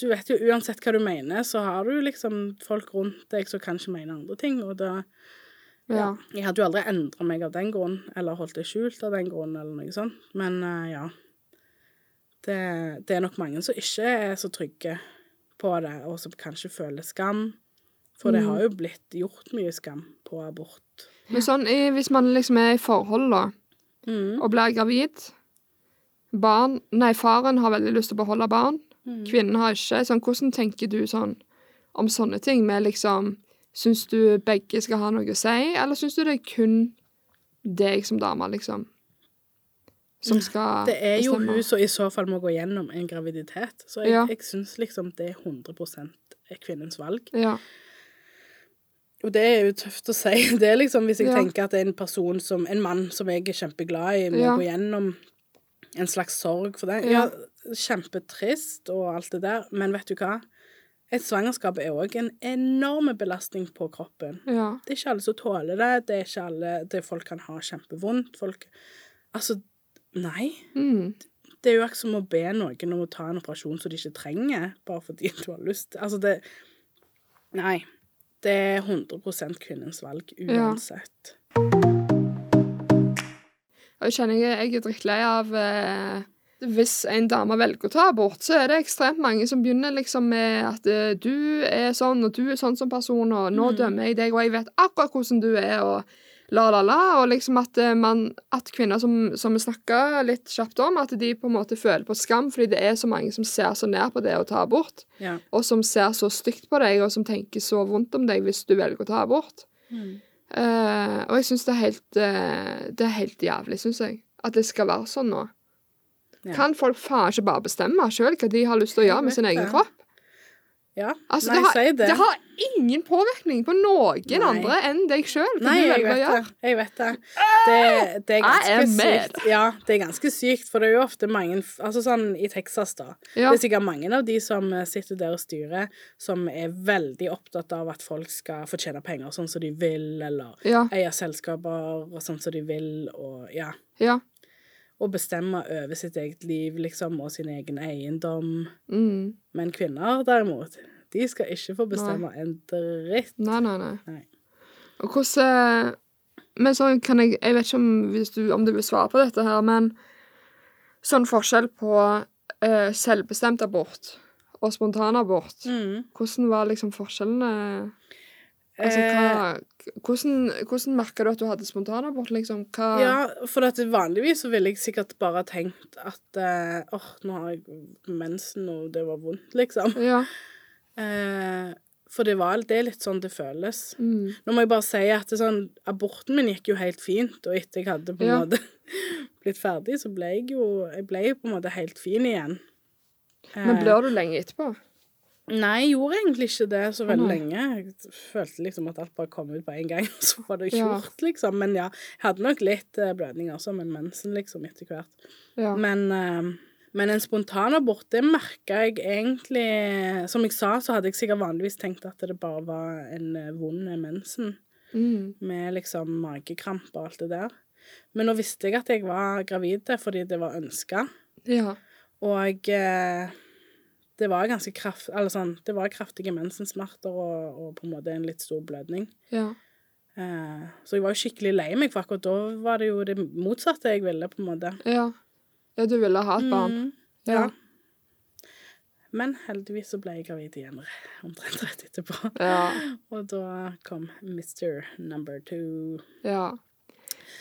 [SPEAKER 2] du vet jo uansett hva du mener, så har du liksom folk rundt deg som kanskje mener andre ting, og da
[SPEAKER 1] ja.
[SPEAKER 2] Jeg hadde jo aldri endra meg av den grunn, eller holdt det skjult av den grunn, eller noe sånt, men eh, ja. Det, det er nok mange som ikke er så trygge på det, og som kanskje føler skam. For det
[SPEAKER 1] Mm.
[SPEAKER 2] har jo blitt gjort mye skam på abort.
[SPEAKER 1] Men sånn, i, hvis man liksom er i forhold da,
[SPEAKER 2] Mm.
[SPEAKER 1] og blir gravid barn, Nei, faren har veldig lyst til å beholde barn.
[SPEAKER 2] Mm.
[SPEAKER 1] Kvinnen har ikke. Sånn, hvordan tenker du sånn om sånne ting? Med liksom Syns du begge skal ha noe å si, eller syns du det er kun deg som dame, liksom? Som skal
[SPEAKER 2] Det er jo
[SPEAKER 1] bestemme?
[SPEAKER 2] hun som i så fall må gå gjennom en graviditet, så jeg,
[SPEAKER 1] Ja.
[SPEAKER 2] jeg syns liksom det er 100 er kvinnens valg.
[SPEAKER 1] Ja.
[SPEAKER 2] Og det er jo tøft å si. [LAUGHS] Det er liksom Hvis jeg
[SPEAKER 1] Ja.
[SPEAKER 2] tenker at det er en person som En mann som jeg er kjempeglad i, må
[SPEAKER 1] Ja.
[SPEAKER 2] gå gjennom en slags sorg for det. Ja.
[SPEAKER 1] Ja.
[SPEAKER 2] kjempetrist og alt det der, men vet du hva? Et svangerskap er òg en enorm belastning på kroppen.
[SPEAKER 1] ja.
[SPEAKER 2] Det er ikke alle som tåler det. Det er ikke alle det Folk kan ha kjempevondt. Folk Altså, nei.
[SPEAKER 1] Mm.
[SPEAKER 2] Det er jo ikke som å be noen om å ta en operasjon som de ikke trenger, bare fordi du har lyst. Altså, det Nei. Det er 100 kvinnens valg uansett.
[SPEAKER 1] Og jeg kjenner jeg, jeg er drittlei av eh, hvis en dame velger å ta abort, så er det ekstremt mange som begynner liksom med at eh, du er sånn, og du er sånn som person, og nå
[SPEAKER 2] Mhm.
[SPEAKER 1] dømmer jeg deg, og jeg vet akkurat hvordan du er, og la, la, la. Og liksom at, eh, man, at kvinner som, som vi snakka litt kjapt om, at de på en måte føler på skam fordi det er så mange som ser så ned på det å ta abort,
[SPEAKER 2] Ja.
[SPEAKER 1] og som ser så stygt på deg, og som tenker så vondt om deg hvis du velger å ta abort. Mm. Eh, og jeg syns det er helt eh, Det er helt jævlig, syns jeg. At det skal være sånn nå.
[SPEAKER 2] Ja.
[SPEAKER 1] Kan folk faen ikke bare bestemme sjøl hva de har lyst til å gjøre med sin
[SPEAKER 2] Jeg vet
[SPEAKER 1] egen
[SPEAKER 2] det.
[SPEAKER 1] kropp?
[SPEAKER 2] ja.
[SPEAKER 1] Altså,
[SPEAKER 2] Nei,
[SPEAKER 1] det, har,
[SPEAKER 2] si
[SPEAKER 1] det.
[SPEAKER 2] det.
[SPEAKER 1] har ingen påvirkning på noen
[SPEAKER 2] Nei.
[SPEAKER 1] andre enn deg sjøl.
[SPEAKER 2] Nei, jeg vet det. Jeg vet det. Det, det
[SPEAKER 1] Jeg er
[SPEAKER 2] er ganske
[SPEAKER 1] med.
[SPEAKER 2] sykt. Ja, det er ganske sykt, for det er jo ofte mange f- Altså sånn i Texas, da.
[SPEAKER 1] Ja.
[SPEAKER 2] Det er sikkert mange av de som eh, sitter der og styrer, som er veldig opptatt av at folk skal få tjene penger sånn som de vil, eller
[SPEAKER 1] Ja,
[SPEAKER 2] eie selskaper og sånn som de vil, og ja.
[SPEAKER 1] ja.
[SPEAKER 2] Og bestemme over sitt eget liv, liksom, og sin egen eiendom.
[SPEAKER 1] Mm.
[SPEAKER 2] Men kvinner, derimot, de skal ikke få bestemme en dritt.
[SPEAKER 1] Nei, nei, nei.
[SPEAKER 2] Nei.
[SPEAKER 1] Og hvordan eh, Men sånn kan jeg Jeg vet ikke om, hvis du, om du vil svare på dette her, men sånn forskjell på eh, selvbestemt abort og spontanabort
[SPEAKER 2] Mm.
[SPEAKER 1] Hvordan var liksom forskjellene? Altså, hva,
[SPEAKER 2] Eh,
[SPEAKER 1] hvordan, hvordan merka du at du hadde spontanabort, liksom? Hva
[SPEAKER 2] Ja, for at vanligvis så ville jeg sikkert bare tenkt at eh, åh, nå har jeg mensen, og det var vondt, liksom.
[SPEAKER 1] Ja.
[SPEAKER 2] Eh, for det, var, det er litt sånn det føles.
[SPEAKER 1] Mm.
[SPEAKER 2] Nå må jeg bare si at det er sånn, aborten min gikk jo helt fint, og etter jeg hadde på en
[SPEAKER 1] Ja.
[SPEAKER 2] måte [LAUGHS] blitt ferdig, så ble jeg jo jeg ble jo på en måte helt fin igjen. Eh.
[SPEAKER 1] Men blør du lenge etterpå?
[SPEAKER 2] Nei, jeg gjorde egentlig ikke det så veldig
[SPEAKER 1] Å, nei.
[SPEAKER 2] lenge. Jeg følte liksom at alt bare kom ut på en gang, [LAUGHS] og så var det
[SPEAKER 1] Ja.
[SPEAKER 2] gjort, liksom. Men ja, jeg hadde nok litt eh, blødning også, men mensen liksom etter hvert.
[SPEAKER 1] Ja.
[SPEAKER 2] Men, eh, men en spontanabort, det merka jeg egentlig Som jeg sa, så hadde jeg sikkert vanligvis tenkt at det bare var en eh, vond mensen
[SPEAKER 1] Mm.
[SPEAKER 2] med liksom magekramp og alt det der. Men nå visste jeg at jeg var gravid fordi det var ønska,
[SPEAKER 1] ja.
[SPEAKER 2] og eh, det var ganske kraft, eller sånn, det var kraftige mensensmerter og, og på en måte en litt stor blødning.
[SPEAKER 1] Ja.
[SPEAKER 2] Eh, så jeg var jo skikkelig lei meg, for akkurat da var det jo det motsatte jeg ville, på en måte.
[SPEAKER 1] Ja. ja, du ville ha et barn?
[SPEAKER 2] Mm,
[SPEAKER 1] Ja.
[SPEAKER 2] ja. Men heldigvis så ble jeg gravid igjen omtrent rett etterpå.
[SPEAKER 1] Ja.
[SPEAKER 2] Og da kom Mr. Number Two.
[SPEAKER 1] ja.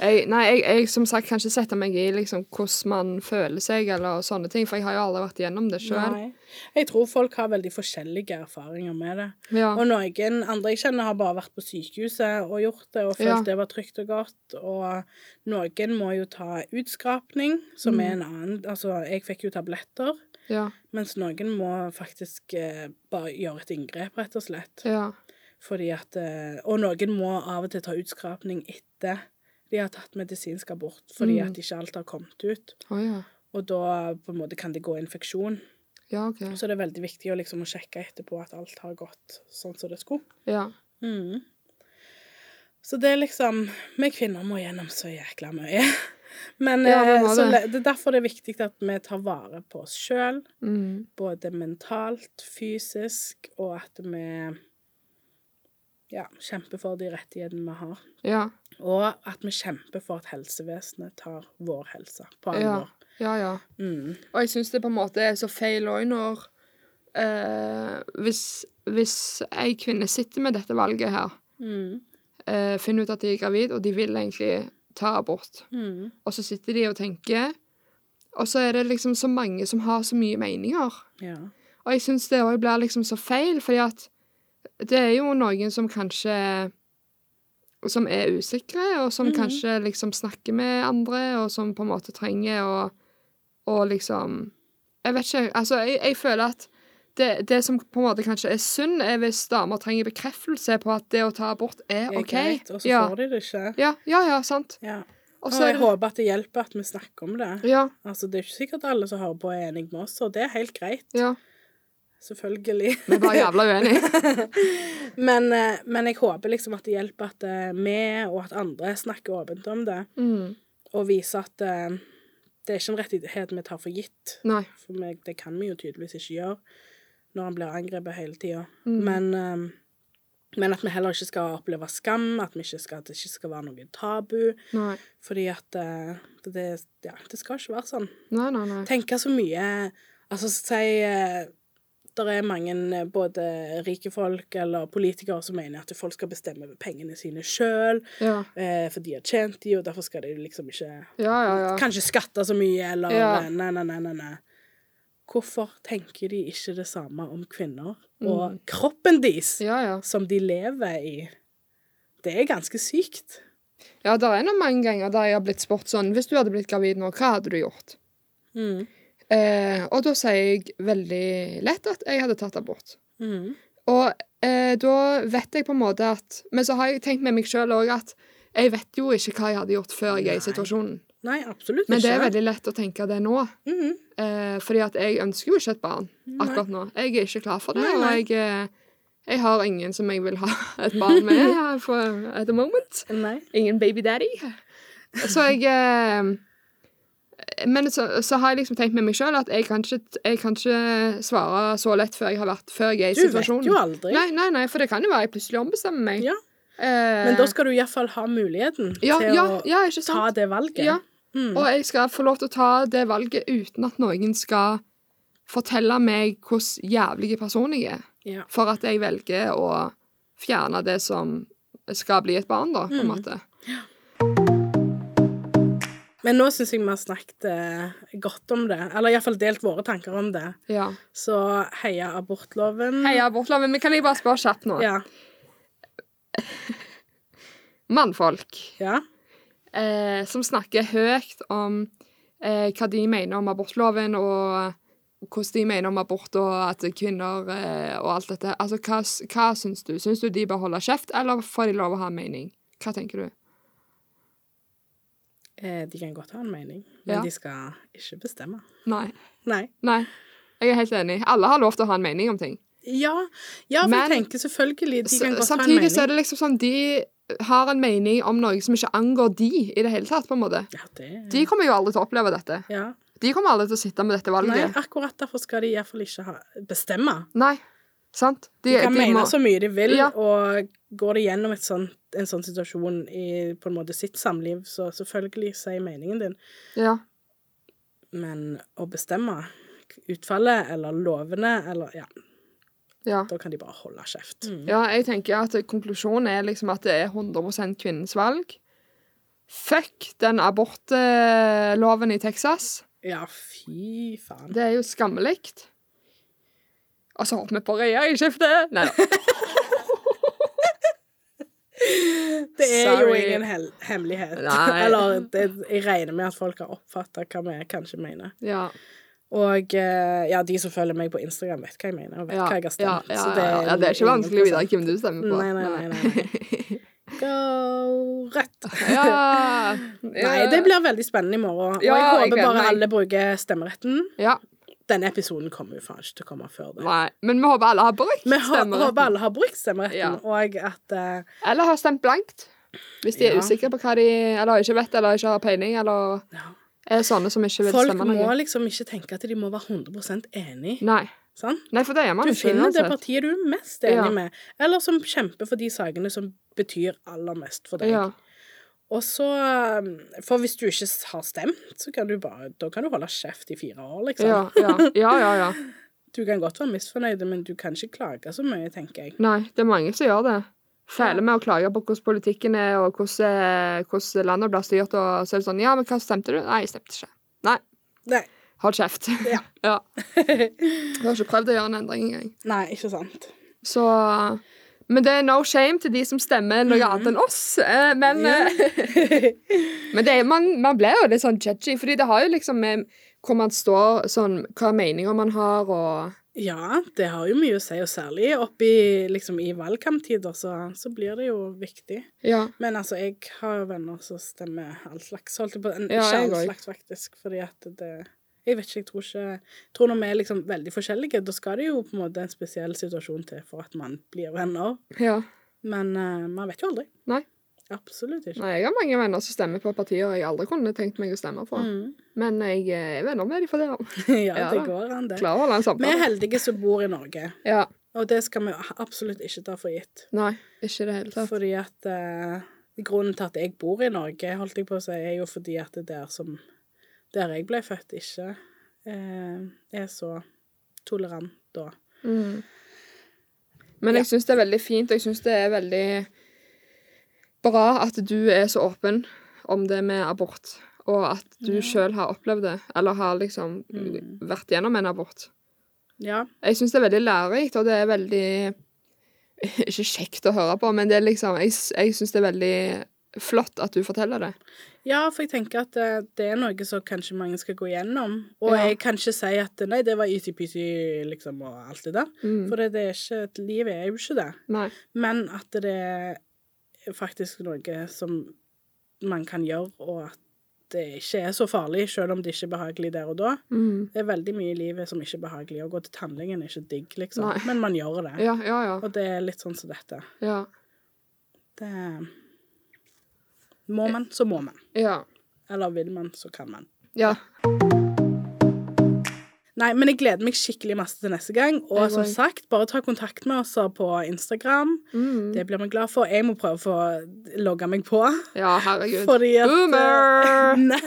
[SPEAKER 1] Jeg, nei, jeg, jeg som sagt kan ikke sette meg i liksom, hvordan man føler seg, eller sånne ting, for jeg har jo aldri vært igjennom det sjøl.
[SPEAKER 2] Nei. Jeg tror folk har veldig forskjellige erfaringer med det.
[SPEAKER 1] Ja.
[SPEAKER 2] Og noen andre jeg kjenner, har bare vært på sykehuset og gjort det og følt
[SPEAKER 1] Ja.
[SPEAKER 2] det var trygt og godt. Og noen må jo ta utskrapning, som er
[SPEAKER 1] Mm.
[SPEAKER 2] en annen Altså, jeg fikk jo tabletter,
[SPEAKER 1] Ja.
[SPEAKER 2] mens noen må faktisk eh, bare gjøre et inngrep, rett og slett.
[SPEAKER 1] Ja.
[SPEAKER 2] Fordi at eh, Og noen må av og til ta utskrapning etter de har tatt medisinsk abort, fordi
[SPEAKER 1] Mm.
[SPEAKER 2] at ikke alt har kommet ut.
[SPEAKER 1] Å ja.
[SPEAKER 2] Og da på en måte kan det gå infeksjon.
[SPEAKER 1] Ja, OK.
[SPEAKER 2] Så det er veldig viktig å liksom å sjekke etterpå at alt har gått sånn som det skulle.
[SPEAKER 1] Ja.
[SPEAKER 2] Mm. Så det er liksom Vi kvinner må gjennom så jækla mye. [LAUGHS] Men
[SPEAKER 1] Ja, vi
[SPEAKER 2] eh,
[SPEAKER 1] må
[SPEAKER 2] så
[SPEAKER 1] det.
[SPEAKER 2] le- det er derfor det er viktig at vi tar vare på oss sjøl
[SPEAKER 1] Mm.
[SPEAKER 2] både mentalt, fysisk, og at vi ja, kjemper for de rettighetene vi har.
[SPEAKER 1] Ja.
[SPEAKER 2] Og at vi kjemper for at helsevesenet tar vår helse
[SPEAKER 1] Ja.
[SPEAKER 2] på alvor.
[SPEAKER 1] Ja, ja.
[SPEAKER 2] Mm.
[SPEAKER 1] Og jeg syns det på en måte er så feil òg når eh, hvis, hvis ei kvinne sitter med dette valget her,
[SPEAKER 2] Mm.
[SPEAKER 1] eh, finner ut at de er gravid, og de vil egentlig ta abort,
[SPEAKER 2] Mm.
[SPEAKER 1] og så sitter de og tenker, og så er det liksom så mange som har så mye meninger.
[SPEAKER 2] Ja.
[SPEAKER 1] Og jeg syns det òg blir liksom så feil, fordi at det er jo noen som kanskje Som er usikre, og som
[SPEAKER 2] Mhm.
[SPEAKER 1] kanskje liksom snakker med andre, og som på en måte trenger å og liksom Jeg vet ikke. Altså, jeg, jeg føler at det, det som på en måte kanskje er synd, er hvis damer trenger bekreftelse på at det å ta abort er
[SPEAKER 2] Det er
[SPEAKER 1] OK.
[SPEAKER 2] greit, og så
[SPEAKER 1] ja.
[SPEAKER 2] får de det ikke.
[SPEAKER 1] Ja, ja, ja, sant.
[SPEAKER 2] Ja.
[SPEAKER 1] Og
[SPEAKER 2] Og
[SPEAKER 1] så er
[SPEAKER 2] jeg
[SPEAKER 1] det
[SPEAKER 2] håper at det hjelper at vi snakker om det.
[SPEAKER 1] Ja,
[SPEAKER 2] Altså, Det er ikke sikkert alle som hører på, er enig med oss, og det er helt greit.
[SPEAKER 1] ja.
[SPEAKER 2] Selvfølgelig. [LAUGHS]
[SPEAKER 1] Vi er bare jævla uenige.
[SPEAKER 2] Men, eh, men jeg håper liksom at det hjelper at eh, vi, og at andre, snakker åpent om det.
[SPEAKER 1] Mm.
[SPEAKER 2] og vise at eh, det er ikke en rettighet vi tar for gitt.
[SPEAKER 1] Nei.
[SPEAKER 2] For vi- det kan vi jo tydeligvis ikke gjøre når han blir angrepet hele tida.
[SPEAKER 1] Mm.
[SPEAKER 2] Men eh, Men at vi heller ikke skal oppleve skam, at, vi ikke skal, at det ikke skal være noe tabu.
[SPEAKER 1] Nei,
[SPEAKER 2] Fordi at eh, det, ja, det skal ikke være sånn.
[SPEAKER 1] nei, nei. nei.
[SPEAKER 2] Tenke så mye Altså, si eh, der er mange eh, både rike folk eller politikere som mener at folk skal bestemme over pengene sine sjøl,
[SPEAKER 1] Ja,
[SPEAKER 2] eh, for de har tjent de, og derfor skal de liksom ikke
[SPEAKER 1] ja, ja. ja.
[SPEAKER 2] Kanskje skatte så mye, eller
[SPEAKER 1] Ja.
[SPEAKER 2] nei, nei, nei, nei, nei. Hvorfor tenker de ikke det samme om kvinner og kroppen deres,
[SPEAKER 1] Mm. Ja, ja.
[SPEAKER 2] som de lever i? Det er ganske sykt.
[SPEAKER 1] ja det er noen mange ganger der jeg har blitt spurt sånn Hvis du hadde blitt gravid nå, hva hadde du gjort?
[SPEAKER 2] Mm.
[SPEAKER 1] Eh, og da sier jeg veldig lett at jeg hadde tatt abort.
[SPEAKER 2] Mm.
[SPEAKER 1] Og eh, da vet jeg på en måte at Men så har jeg tenkt med meg sjøl òg at jeg vet jo ikke hva jeg hadde gjort før jeg er i
[SPEAKER 2] Nei.
[SPEAKER 1] situasjonen.
[SPEAKER 2] Nei, absolutt
[SPEAKER 1] Men
[SPEAKER 2] ikke.
[SPEAKER 1] det er veldig lett å tenke det nå.
[SPEAKER 2] Mhm.
[SPEAKER 1] Eh, fordi at jeg ønsker jo ikke et barn akkurat nå. Jeg er ikke klar for det.
[SPEAKER 2] Nei, nei.
[SPEAKER 1] Og jeg, eh, jeg har ingen som jeg vil ha [LAUGHS] et barn med
[SPEAKER 2] [LAUGHS]
[SPEAKER 1] her for, at the moment.
[SPEAKER 2] Nei.
[SPEAKER 1] Ingen baby daddy. Så jeg eh, Men så, så har jeg liksom tenkt med meg sjøl at jeg kan, ikke, jeg kan ikke svare så lett før jeg har vært Før jeg er i
[SPEAKER 2] Du vet
[SPEAKER 1] situasjonen.
[SPEAKER 2] jo aldri.
[SPEAKER 1] Nei, nei, nei, for det kan jo være jeg plutselig ombestemmer meg.
[SPEAKER 2] Ja.
[SPEAKER 1] Eh,
[SPEAKER 2] Men da skal du iallfall ha muligheten
[SPEAKER 1] ja,
[SPEAKER 2] til
[SPEAKER 1] ja,
[SPEAKER 2] å
[SPEAKER 1] ja, ikke
[SPEAKER 2] ta
[SPEAKER 1] sant?
[SPEAKER 2] det valget.
[SPEAKER 1] Ja.
[SPEAKER 2] Mm.
[SPEAKER 1] Og jeg skal få lov til å ta det valget uten at noen skal fortelle meg hvordan jævlig person jeg er.
[SPEAKER 2] Ja.
[SPEAKER 1] For at jeg velger å fjerne det som skal bli et barn, da, på
[SPEAKER 2] Mm.
[SPEAKER 1] en måte.
[SPEAKER 2] Men nå syns jeg vi har snakket eh, godt om det. Eller iallfall delt våre tanker om det.
[SPEAKER 1] Ja.
[SPEAKER 2] Så heia abortloven.
[SPEAKER 1] Hei, abortloven, men kan jeg bare spørre kjapt nå?
[SPEAKER 2] Ja.
[SPEAKER 1] Mannfolk
[SPEAKER 2] ja.
[SPEAKER 1] eh, som snakker høyt om eh, hva de mener om abortloven, og hvordan de mener om abort og at kvinner eh, og alt dette. Altså, hva, s- hva syns du? Syns du de bør holde kjeft, eller får de lov å ha en mening? Hva tenker du?
[SPEAKER 2] Eh, de kan godt ha en mening, men
[SPEAKER 1] Ja.
[SPEAKER 2] de skal ikke bestemme.
[SPEAKER 1] Nei.
[SPEAKER 2] Nei.
[SPEAKER 1] Nei. Jeg er helt enig. Alle har lov til å ha en mening om ting.
[SPEAKER 2] Ja, ja for
[SPEAKER 1] Men-
[SPEAKER 2] jeg tenker selvfølgelig de kan
[SPEAKER 1] S-
[SPEAKER 2] godt ha en
[SPEAKER 1] Samtidig
[SPEAKER 2] mening.
[SPEAKER 1] så er det liksom sånn De har en mening om noe som ikke angår de i det hele tatt, på en måte.
[SPEAKER 2] Ja, det
[SPEAKER 1] De kommer jo aldri til å oppleve dette.
[SPEAKER 2] ja.
[SPEAKER 1] De kommer aldri til å sitte med dette
[SPEAKER 2] Nei,
[SPEAKER 1] valget.
[SPEAKER 2] akkurat derfor skal de iallfall ikke ha, bestemme.
[SPEAKER 1] Nei. Sant? De,
[SPEAKER 2] De kan
[SPEAKER 1] de
[SPEAKER 2] mene
[SPEAKER 1] må-
[SPEAKER 2] så mye de vil,
[SPEAKER 1] Ja.
[SPEAKER 2] og går de gjennom et sånt, en sånn situasjon i på en måte sitt samliv, så selvfølgelig sier meningen din.
[SPEAKER 1] Ja.
[SPEAKER 2] Men å bestemme utfallet eller lovene eller Ja,
[SPEAKER 1] ja.
[SPEAKER 2] da kan de bare holde kjeft.
[SPEAKER 1] Ja, jeg tenker at konklusjonen er liksom at det er 100 kvinnens valg. Fuck den abortloven i Texas.
[SPEAKER 2] Ja, fy faen.
[SPEAKER 1] Det er jo skammelig. Og så håper vi på regjeringsskifte!
[SPEAKER 2] [LAUGHS]
[SPEAKER 1] Nei da.
[SPEAKER 2] Det er jo
[SPEAKER 1] Sorry.
[SPEAKER 2] ingen hel hemmelighet.
[SPEAKER 1] Nei.
[SPEAKER 2] [LAUGHS] Eller det, jeg regner med at folk har oppfatta hva vi kanskje mener.
[SPEAKER 1] Ja.
[SPEAKER 2] Og eh, ja, de som følger meg på Instagram, vet hva jeg mener, og vet
[SPEAKER 1] Ja,
[SPEAKER 2] hva jeg har
[SPEAKER 1] ja,
[SPEAKER 2] stemt.
[SPEAKER 1] ja,
[SPEAKER 2] så liksom-
[SPEAKER 1] ja, ja, det er ikke vanskelig å vite hvem du stemmer på.
[SPEAKER 2] Nei, nei, nei. nei. Go rødt.
[SPEAKER 1] [LAUGHS] Ja.
[SPEAKER 2] Nei, det blir veldig spennende i morgen. Og
[SPEAKER 1] Ja,
[SPEAKER 2] jeg
[SPEAKER 1] jeg
[SPEAKER 2] håper
[SPEAKER 1] gleder
[SPEAKER 2] bare
[SPEAKER 1] meg.
[SPEAKER 2] alle bruker stemmeretten.
[SPEAKER 1] ja.
[SPEAKER 2] Denne episoden kommer jo faen ikke til å komme før det.
[SPEAKER 1] Nei. Men vi håper alle har brukt
[SPEAKER 2] Vi hå- håper
[SPEAKER 1] stemmeretten.
[SPEAKER 2] alle har brukt stemmeretten,
[SPEAKER 1] Ja.
[SPEAKER 2] og at eh,
[SPEAKER 1] Eller har stemt blankt. Hvis de er
[SPEAKER 2] Ja.
[SPEAKER 1] usikre på hva de Eller ikke vet eller ikke har peiling, eller
[SPEAKER 2] ja.
[SPEAKER 1] er sånne som ikke vil
[SPEAKER 2] folk
[SPEAKER 1] stemme
[SPEAKER 2] må
[SPEAKER 1] noe.
[SPEAKER 2] liksom ikke tenke at de må være 100 enig.
[SPEAKER 1] Nei.
[SPEAKER 2] Sant?
[SPEAKER 1] Nei, for det er man
[SPEAKER 2] Du
[SPEAKER 1] ikke.
[SPEAKER 2] finner det
[SPEAKER 1] uansett.
[SPEAKER 2] partiet du er mest enig
[SPEAKER 1] Ja.
[SPEAKER 2] med, eller som kjemper for de sakene som betyr aller mest for deg.
[SPEAKER 1] Ja.
[SPEAKER 2] Og så, um, For hvis du ikke har stemt, så kan du bare, da kan du holde kjeft i fire år, liksom.
[SPEAKER 1] Ja, ja, ja, ja, ja.
[SPEAKER 2] Du kan godt være misfornøyd, men du kan ikke klage så mye, tenker jeg.
[SPEAKER 1] Nei, det er mange som gjør det. Fæle med å klage på hvordan politikken er, og hvordan, eh, hvordan landet blir styrt. Og så er det sånn Ja, men hva stemte du? Nei, jeg stemte ikke. Nei,
[SPEAKER 2] Nei,
[SPEAKER 1] hold kjeft.
[SPEAKER 2] Ja.
[SPEAKER 1] [LAUGHS] ja. Jeg har ikke prøvd å gjøre en endring engang.
[SPEAKER 2] Nei ikke sant.
[SPEAKER 1] Så Men det er no shame til de som stemmer
[SPEAKER 2] Mm.
[SPEAKER 1] noe annet enn oss. eh, Men, eh, men det er, man, man blir jo litt sånn judgy, fordi det har jo liksom med hvor man står, sånn, hva meninger man har, og
[SPEAKER 2] [LAUGHS] Ja, det har jo mye å si, og særlig oppi, liksom, i valgkamptider, så, så blir det jo viktig.
[SPEAKER 1] Ja.
[SPEAKER 2] Men altså, jeg har jo venner som stemmer all slags, holdt jeg på. En,
[SPEAKER 1] Ja,
[SPEAKER 2] ikke
[SPEAKER 1] jeg
[SPEAKER 2] all
[SPEAKER 1] òg.
[SPEAKER 2] slags, faktisk, fordi at det Jeg vet ikke, jeg tror ikke Jeg tror når vi er liksom veldig forskjellige, da skal det jo på en måte en spesiell situasjon til for at man blir venner.
[SPEAKER 1] ja.
[SPEAKER 2] Men eh, man vet jo aldri.
[SPEAKER 1] Nei.
[SPEAKER 2] Absolutt ikke.
[SPEAKER 1] Nei, jeg har mange venner som stemmer på partier jeg aldri kunne tenkt meg å stemme på.
[SPEAKER 2] Mm. [LAUGHS]
[SPEAKER 1] Men jeg eh, er venner med dem for det. da.
[SPEAKER 2] ja,
[SPEAKER 1] Ja
[SPEAKER 2] det
[SPEAKER 1] da.
[SPEAKER 2] går an, det.
[SPEAKER 1] Klarer å holde en
[SPEAKER 2] Vi er
[SPEAKER 1] samtale.
[SPEAKER 2] heldige som bor i Norge.
[SPEAKER 1] Ja.
[SPEAKER 2] Og det skal vi absolutt ikke ta for gitt.
[SPEAKER 1] Nei, ikke i det hele tatt.
[SPEAKER 2] Fordi at eh, grunnen til at jeg bor i Norge, holdt jeg på å si, er jo fordi at det der som Der jeg ble født, ikke eh, er så tolerant da.
[SPEAKER 1] Men
[SPEAKER 2] Mm. Ja.
[SPEAKER 1] Mm. jeg syns det er veldig fint, og jeg syns det er veldig bra at du er så åpen om det med abort, og at du sjøl har opplevd det, eller har liksom
[SPEAKER 2] Mm.
[SPEAKER 1] vært gjennom en abort.
[SPEAKER 2] Ja.
[SPEAKER 1] Jeg syns det er veldig lærerikt, og det er veldig [LAUGHS] Ikke kjekt å høre på, men det er liksom Jeg, s- jeg syns det er veldig flott at du forteller det.
[SPEAKER 2] ja, for jeg tenker at eh, det er noe som kanskje mange skal gå gjennom. Og
[SPEAKER 1] Ja.
[SPEAKER 2] jeg kan ikke si at nei, det var ytipyty, liksom, og alt det der.
[SPEAKER 1] Mm.
[SPEAKER 2] For det, det er ikke et Livet er jo ikke det.
[SPEAKER 1] Nei.
[SPEAKER 2] Men at det er faktisk noe som man kan gjøre, og at det ikke er så farlig, selv om det ikke er behagelig der og da.
[SPEAKER 1] Mm.
[SPEAKER 2] Det er veldig mye i livet som ikke er behagelig. Å gå til tannlegen er ikke digg, liksom.
[SPEAKER 1] Nei.
[SPEAKER 2] Men man gjør det.
[SPEAKER 1] Ja, ja, ja.
[SPEAKER 2] Og det er litt sånn som dette.
[SPEAKER 1] ja.
[SPEAKER 2] Det Må man, så må man.
[SPEAKER 1] Ja.
[SPEAKER 2] Eller vil man, så kan man.
[SPEAKER 1] ja.
[SPEAKER 2] Nei, men jeg gleder meg skikkelig masse til neste gang. Og
[SPEAKER 1] Jeg
[SPEAKER 2] som
[SPEAKER 1] også.
[SPEAKER 2] sagt, bare ta kontakt med oss på Instagram.
[SPEAKER 1] Mm.
[SPEAKER 2] Det blir vi glad for. Jeg må prøve å få logge meg på.
[SPEAKER 1] Ja, herregud.
[SPEAKER 2] [LAUGHS] Fordi at eh,
[SPEAKER 1] Boomer!
[SPEAKER 2] [LAUGHS] Nei,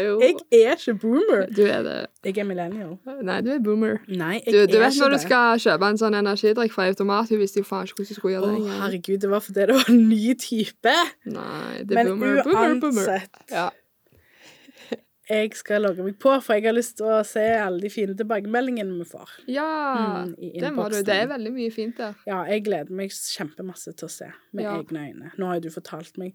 [SPEAKER 1] Jo.
[SPEAKER 2] jeg er ikke boomer.
[SPEAKER 1] Du er det.
[SPEAKER 2] Jeg er millennial.
[SPEAKER 1] Nei, du er boomer.
[SPEAKER 2] Nei, jeg
[SPEAKER 1] Du, du
[SPEAKER 2] er
[SPEAKER 1] vet
[SPEAKER 2] ikke
[SPEAKER 1] når du
[SPEAKER 2] det.
[SPEAKER 1] skal kjøpe en sånn energidrikk fra automat, hun visste jo faen ikke hvordan hun skulle
[SPEAKER 2] Å,
[SPEAKER 1] gjøre det. engang.
[SPEAKER 2] herregud, det var fordi det var en ny type.
[SPEAKER 1] Nei, det er
[SPEAKER 2] Men
[SPEAKER 1] boomer, boomer, boomer.
[SPEAKER 2] uansett,
[SPEAKER 1] Ja.
[SPEAKER 2] jeg skal logge meg på, for jeg har lyst til å se alle de fine tilbakemeldingene vi får.
[SPEAKER 1] ja.
[SPEAKER 2] Mm, i
[SPEAKER 1] Det må du.
[SPEAKER 2] innboksen.
[SPEAKER 1] Det er veldig mye fint der.
[SPEAKER 2] Ja, jeg gleder meg kjempemasse til å se med
[SPEAKER 1] Ja.
[SPEAKER 2] egne øyne. Nå har jo du fortalt meg.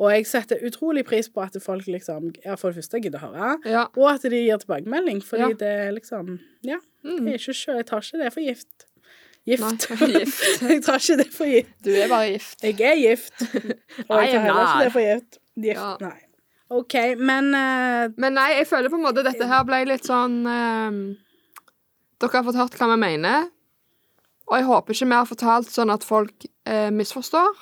[SPEAKER 2] Og jeg setter utrolig pris på at folk liksom ja, For det første gidder å høre,
[SPEAKER 1] Ja.
[SPEAKER 2] og at de gir tilbakemelding, fordi
[SPEAKER 1] Ja.
[SPEAKER 2] det er liksom Ja,
[SPEAKER 1] Mm.
[SPEAKER 2] jeg, er ikke, sjø- jeg tar ikke det for gift.
[SPEAKER 1] Nei,
[SPEAKER 2] Gift. [LAUGHS]
[SPEAKER 1] gift.
[SPEAKER 2] jeg tar ikke det for gift.
[SPEAKER 1] Du er bare gift.
[SPEAKER 2] Jeg er gift.
[SPEAKER 1] [LAUGHS]
[SPEAKER 2] Og
[SPEAKER 1] Nei,
[SPEAKER 2] jeg tar heller ikke
[SPEAKER 1] nei.
[SPEAKER 2] det for gift. Gift,
[SPEAKER 1] Ja.
[SPEAKER 2] nei. OK, men eh,
[SPEAKER 1] Men nei, jeg føler på en måte dette her ble litt sånn ehm, Dere har fått hørt hva vi mener. Og jeg håper ikke vi har fortalt sånn at folk eh, misforstår.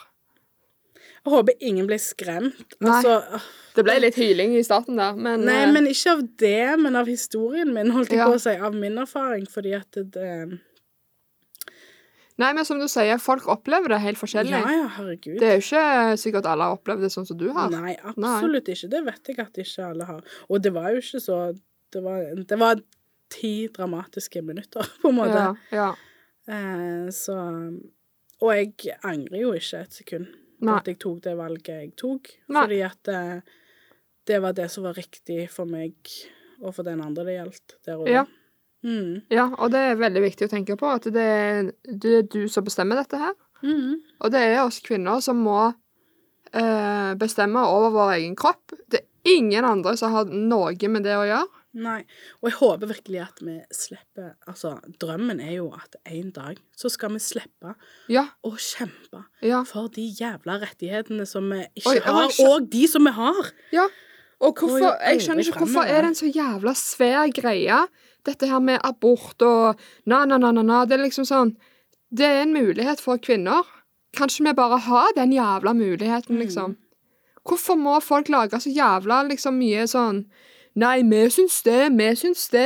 [SPEAKER 2] jeg håper ingen blir skremt.
[SPEAKER 1] Nei.
[SPEAKER 2] Altså, åh,
[SPEAKER 1] Det ble litt hyling i starten der, men,
[SPEAKER 2] nei,
[SPEAKER 1] eh,
[SPEAKER 2] men ikke av det, men av historien min, holdt jeg
[SPEAKER 1] Ja.
[SPEAKER 2] på å si. Av min erfaring, fordi at det, det
[SPEAKER 1] nei, men som du sier, folk opplever det helt forskjellig.
[SPEAKER 2] Ja, ja, herregud.
[SPEAKER 1] Det er jo ikke sikkert alle har opplevd det sånn som du har.
[SPEAKER 2] Nei, absolutt ikke. Det vet jeg at ikke alle har. Og det var jo ikke så Det var, det var ti dramatiske minutter, [LAUGHS] på en måte.
[SPEAKER 1] ja, ja.
[SPEAKER 2] Eh, så Og jeg angrer jo ikke et sekund på
[SPEAKER 1] Nei.
[SPEAKER 2] at jeg tok det valget jeg tok.
[SPEAKER 1] Nei.
[SPEAKER 2] Fordi at eh, det var det som var riktig for meg og for den andre det gjaldt der og da.
[SPEAKER 1] Ja.
[SPEAKER 2] Mm.
[SPEAKER 1] ja, og det er veldig viktig å tenke på at det er, det er du som bestemmer dette her.
[SPEAKER 2] Mm.
[SPEAKER 1] Og det er oss kvinner som må eh, bestemme over vår egen kropp. Det er ingen andre som har noe med det å gjøre.
[SPEAKER 2] Nei. Og jeg håper virkelig at vi slipper Altså, drømmen er jo at en dag så skal vi slippe
[SPEAKER 1] Ja,
[SPEAKER 2] å kjempe
[SPEAKER 1] ja,
[SPEAKER 2] for de jævla rettighetene som vi ikke
[SPEAKER 1] Oi, jeg
[SPEAKER 2] har,
[SPEAKER 1] var ikke-
[SPEAKER 2] og de som vi har.
[SPEAKER 1] ja. Og hvorfor,
[SPEAKER 2] Oi,
[SPEAKER 1] jeg skjønner ikke
[SPEAKER 2] aldri
[SPEAKER 1] hvorfor
[SPEAKER 2] fremover.
[SPEAKER 1] er det en så jævla svær greie, dette her med abort og na, na, na, na, na. Det er liksom sånn Det er en mulighet for kvinner. Kanskje vi bare har den jævla muligheten, liksom. Hvorfor må folk lage så jævla liksom mye sånn Nei, vi syns det, vi syns det.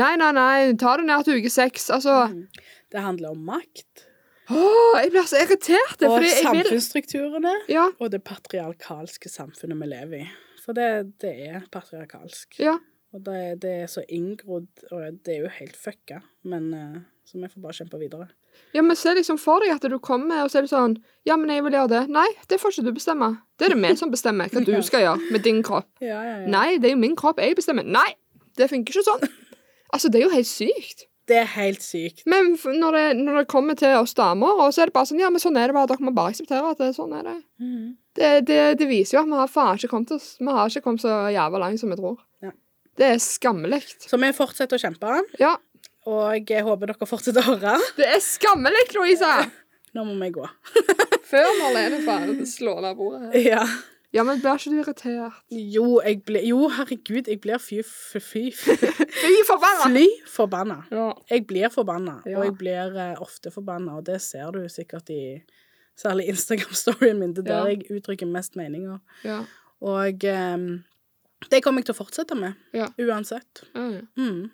[SPEAKER 1] Nei, nei, nei, ta det ned til uke seks. Altså
[SPEAKER 2] Mm. Det handler om makt
[SPEAKER 1] Åh, jeg blir så irritert. det er
[SPEAKER 2] og
[SPEAKER 1] Fordi jeg vil
[SPEAKER 2] samfunnsstrukturene.
[SPEAKER 1] ja,
[SPEAKER 2] Og det patriarkalske samfunnet vi lever i. For det, det er patriarkalsk.
[SPEAKER 1] ja,
[SPEAKER 2] Og det, det er så inngrodd, og det er jo helt fucka. Men eh, så vi får bare kjempe videre.
[SPEAKER 1] ja, men se liksom for deg at du kommer og så er det sånn Ja, men jeg vil gjøre det. Nei, det får ikke du bestemme. Det er det vi som bestemmer hva du skal gjøre med din kropp.
[SPEAKER 2] Ja, ja, ja.
[SPEAKER 1] Nei, det er jo min kropp jeg bestemmer. Nei, det funker ikke sånn. Altså, det er jo helt sykt.
[SPEAKER 2] Det er helt sykt.
[SPEAKER 1] Men f- når det, når det kommer til oss damer, og så er det bare sånn Ja, men sånn er det bare. Dere må bare akseptere at det, sånn er det.
[SPEAKER 2] Mhm.
[SPEAKER 1] Det, det, det viser jo at vi har faen ikke kommet oss Vi har ikke kommet så jævla langt som vi tror.
[SPEAKER 2] Ja.
[SPEAKER 1] Det er skammelig.
[SPEAKER 2] Så vi fortsetter å kjempe,
[SPEAKER 1] Ja.
[SPEAKER 2] og jeg håper dere fortsetter å høre.
[SPEAKER 1] Det er skammelig, Louisa!
[SPEAKER 2] Nå må vi gå.
[SPEAKER 1] Før Marlene faen slår ned bordet. her.
[SPEAKER 2] Ja.
[SPEAKER 1] Ja, men blir ikke du irritert?
[SPEAKER 2] Jo, jeg ble, jo herregud, jeg blir fy, fy, fy, [LAUGHS] fy
[SPEAKER 1] Fy forbanna!
[SPEAKER 2] fly forbanna.
[SPEAKER 1] Ja.
[SPEAKER 2] Jeg blir forbanna,
[SPEAKER 1] Ja.
[SPEAKER 2] og jeg blir eh, ofte forbanna, og det ser du sikkert i særlig Instagram-storyen min. Det er der
[SPEAKER 1] Ja.
[SPEAKER 2] jeg uttrykker mest meninger.
[SPEAKER 1] Ja.
[SPEAKER 2] Og ehm, det kommer jeg til å fortsette med,
[SPEAKER 1] Ja.
[SPEAKER 2] uansett.
[SPEAKER 1] ja.
[SPEAKER 2] Mm.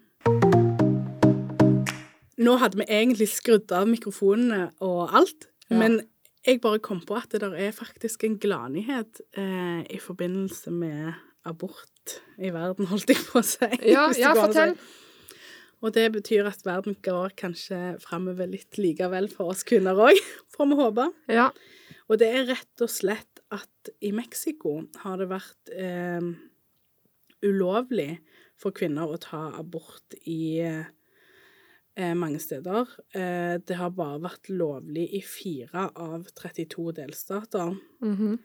[SPEAKER 2] Nå hadde vi egentlig skrudd av mikrofonene og alt,
[SPEAKER 1] Ja.
[SPEAKER 2] men jeg bare kom på at det der er faktisk en gladnyhet eh, i forbindelse med abort i verden, [LAUGHS] holdt jeg på å si.
[SPEAKER 1] Ja,
[SPEAKER 2] hvis det
[SPEAKER 1] ja
[SPEAKER 2] går an å si.
[SPEAKER 1] fortell.
[SPEAKER 2] Og det betyr at verden går kanskje framover litt likevel for oss kvinner òg, [LAUGHS] får vi håpe.
[SPEAKER 1] Ja.
[SPEAKER 2] Og det er rett og slett at i Mexico har det vært eh, ulovlig for kvinner å ta abort i eh, mange steder. Eh, det har bare vært lovlig i fire av 32 delstater.
[SPEAKER 1] Mhm.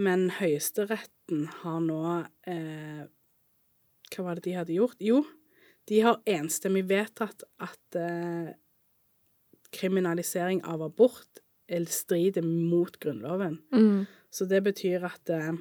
[SPEAKER 2] Men Høyesteretten har nå eh, Hva var det de hadde gjort? Jo, de har enstemmig vedtatt at eh, kriminalisering av abort eh, strider mot Grunnloven.
[SPEAKER 1] Mm.
[SPEAKER 2] Så det betyr at eh,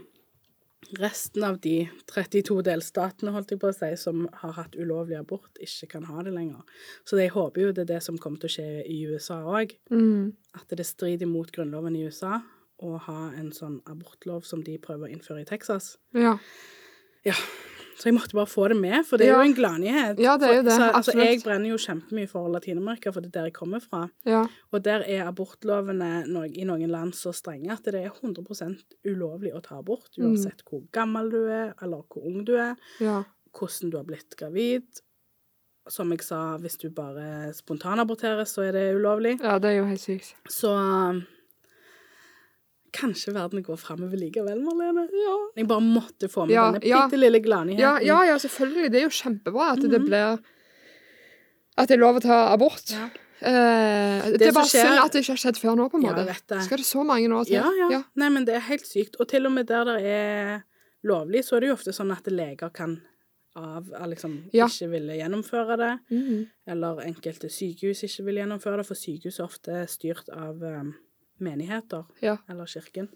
[SPEAKER 2] resten av de 32 delstatene holdt jeg på å si, som har hatt ulovlig abort, ikke kan ha det lenger. Så jeg håper jo det er det som kommer til å skje i USA òg
[SPEAKER 1] Mm.
[SPEAKER 2] at det strider mot grunnloven i USA å ha en sånn abortlov som de prøver å innføre i Texas.
[SPEAKER 1] Ja.
[SPEAKER 2] Ja, så jeg måtte bare få det med, for det er
[SPEAKER 1] Ja.
[SPEAKER 2] jo en gladnyhet.
[SPEAKER 1] Ja, det er jo det,
[SPEAKER 2] Så, så
[SPEAKER 1] absolutt.
[SPEAKER 2] jeg brenner jo kjempemye for Latin-Amerika, for det er der jeg kommer fra.
[SPEAKER 1] ja.
[SPEAKER 2] Og der er abortlovene no i noen land så strenge at det er 100 ulovlig å ta abort,
[SPEAKER 1] Mm.
[SPEAKER 2] uansett hvor gammel du er, eller hvor ung du er,
[SPEAKER 1] Ja.
[SPEAKER 2] hvordan du har blitt gravid. Som jeg sa, hvis du bare spontanaborterer, så er det ulovlig.
[SPEAKER 1] ja, det er jo helt sykt.
[SPEAKER 2] Så um, kanskje verden går framover likevel, Marlene. Jeg bare måtte få med
[SPEAKER 1] Ja,
[SPEAKER 2] denne
[SPEAKER 1] ja.
[SPEAKER 2] bitte lille gladnyheten.
[SPEAKER 1] Ja, ja, ja, selvfølgelig. Det er jo kjempebra at det blir At det er lov å ta abort.
[SPEAKER 2] Mhm. Ja.
[SPEAKER 1] Eh, det, er
[SPEAKER 2] som
[SPEAKER 1] bare synd
[SPEAKER 2] skjer-
[SPEAKER 1] at det ikke har skjedd før nå, på en
[SPEAKER 2] Ja, eh,
[SPEAKER 1] måte.
[SPEAKER 2] jeg vet det.
[SPEAKER 1] Skal det så mange altså? år til?
[SPEAKER 2] Ja, ja. Nei, men det er helt sykt. Og til og med der det er lovlig, så er det jo ofte sånn at leger kan av, liksom
[SPEAKER 1] Ja.
[SPEAKER 2] ikke ville gjennomføre det.
[SPEAKER 1] Mhm.
[SPEAKER 2] Eller enkelte sykehus ikke vil gjennomføre det, for sykehus er ofte styrt av um, menigheter.
[SPEAKER 1] ja.
[SPEAKER 2] eller kirken.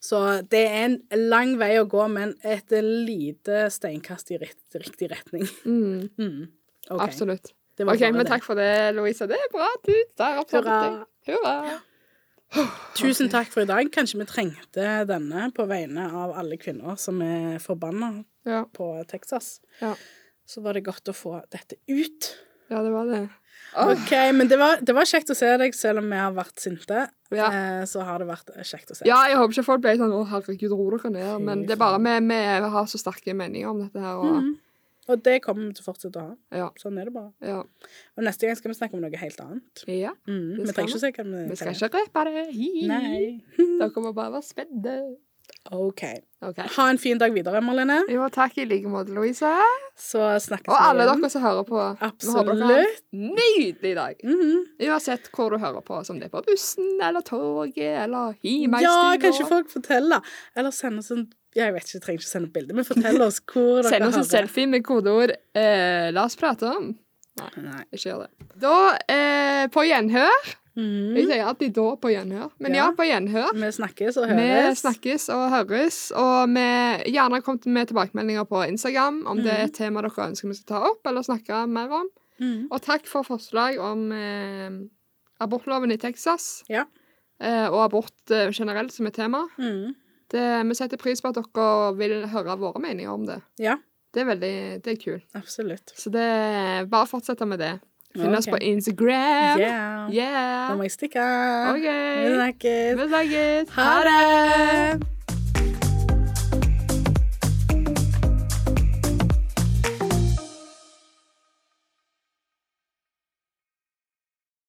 [SPEAKER 2] Så det er en lang vei å gå, men et lite steinkast i rett, riktig retning.
[SPEAKER 1] Mm,
[SPEAKER 2] Mm. OK.
[SPEAKER 1] Absolutt.
[SPEAKER 2] Det var
[SPEAKER 1] OK,
[SPEAKER 2] bare
[SPEAKER 1] men
[SPEAKER 2] det.
[SPEAKER 1] takk for det, Louisa. Det er bra. Du, der
[SPEAKER 2] Hurra.
[SPEAKER 1] oppdaget jeg. Hurra.
[SPEAKER 2] Tusen takk for i dag. Kanskje vi trengte denne på vegne av alle kvinner som er forbanna
[SPEAKER 1] Ja.
[SPEAKER 2] på Texas.
[SPEAKER 1] Ja.
[SPEAKER 2] Så var det godt å få dette ut.
[SPEAKER 1] ja, det var det. Åh.
[SPEAKER 2] OK, men det var, det var kjekt å se deg, selv om vi har vært sinte.
[SPEAKER 1] Ja.
[SPEAKER 2] eh, Så har det vært kjekt å se.
[SPEAKER 1] Ja, jeg håper ikke folk ble sånn Å, herregud, ro dere ned. Men
[SPEAKER 2] Fy
[SPEAKER 1] det er bare vi, vi har så sterke meninger om dette her, og
[SPEAKER 2] Mhm. Og det kommer vi til å fortsette å ha.
[SPEAKER 1] Ja.
[SPEAKER 2] Sånn er det bare.
[SPEAKER 1] Ja.
[SPEAKER 2] Og neste gang skal vi snakke om noe helt annet.
[SPEAKER 1] ja.
[SPEAKER 2] Mm,
[SPEAKER 1] Det
[SPEAKER 2] vi
[SPEAKER 1] skal
[SPEAKER 2] trenger
[SPEAKER 1] vi.
[SPEAKER 2] ikke å se hva vi
[SPEAKER 1] Vi skal
[SPEAKER 2] hva
[SPEAKER 1] ikke røpe det. Hi.
[SPEAKER 2] vi- Nei.
[SPEAKER 1] Dere må bare være spente.
[SPEAKER 2] OK.
[SPEAKER 1] OK.
[SPEAKER 2] Ha en fin dag videre, Marlene.
[SPEAKER 1] Jo, takk i like måte, Louise.
[SPEAKER 2] Så snakkes
[SPEAKER 1] Og alle
[SPEAKER 2] igjen.
[SPEAKER 1] dere som hører på. Vi håper dere har
[SPEAKER 2] Absolutt.
[SPEAKER 1] en nydelig dag.
[SPEAKER 2] Mhm.
[SPEAKER 1] Uansett hvor du hører på, som det er på bussen eller toget eller i
[SPEAKER 2] Ja,
[SPEAKER 1] meistua.
[SPEAKER 2] kanskje folk forteller. Eller send oss en Jeg vet ikke, jeg trenger ikke sende bilde, men fortell oss hvor
[SPEAKER 1] [LAUGHS]
[SPEAKER 2] dere
[SPEAKER 1] Send oss en
[SPEAKER 2] hører.
[SPEAKER 1] selfie med kodeord eh, 'La oss prate om'.
[SPEAKER 2] Nei.
[SPEAKER 1] Ikke gjør det. Da, eh, på gjenhør Jeg
[SPEAKER 2] Mhm.
[SPEAKER 1] sier alltid 'da' på gjenhør, men ja,
[SPEAKER 2] Ja.
[SPEAKER 1] på gjenhør.
[SPEAKER 2] Vi snakkes og
[SPEAKER 1] Vi
[SPEAKER 2] høres.
[SPEAKER 1] snakkes og høres, og vi gjerne kom med tilbakemeldinger på Instagram om det er et tema dere ønsker vi skal ta opp eller snakke mer om.
[SPEAKER 2] Mhm.
[SPEAKER 1] Og takk for forslag om eh, abortloven i Texas
[SPEAKER 2] Ja.
[SPEAKER 1] eh, og abort eh, generelt som et tema.
[SPEAKER 2] Mhm.
[SPEAKER 1] Det, vi setter pris på at dere vil høre våre meninger om det.
[SPEAKER 2] Ja,
[SPEAKER 1] Det er veldig det er kult.
[SPEAKER 2] absolutt.
[SPEAKER 1] Så det, bare fortsette med det. Finn oss
[SPEAKER 2] Ok.
[SPEAKER 1] på Instagram.
[SPEAKER 2] Yeah. Nå
[SPEAKER 1] Yeah.
[SPEAKER 2] må jeg stikke.
[SPEAKER 1] OK.
[SPEAKER 2] Vi snakkes.
[SPEAKER 1] Vi snakkes.
[SPEAKER 2] Ha det.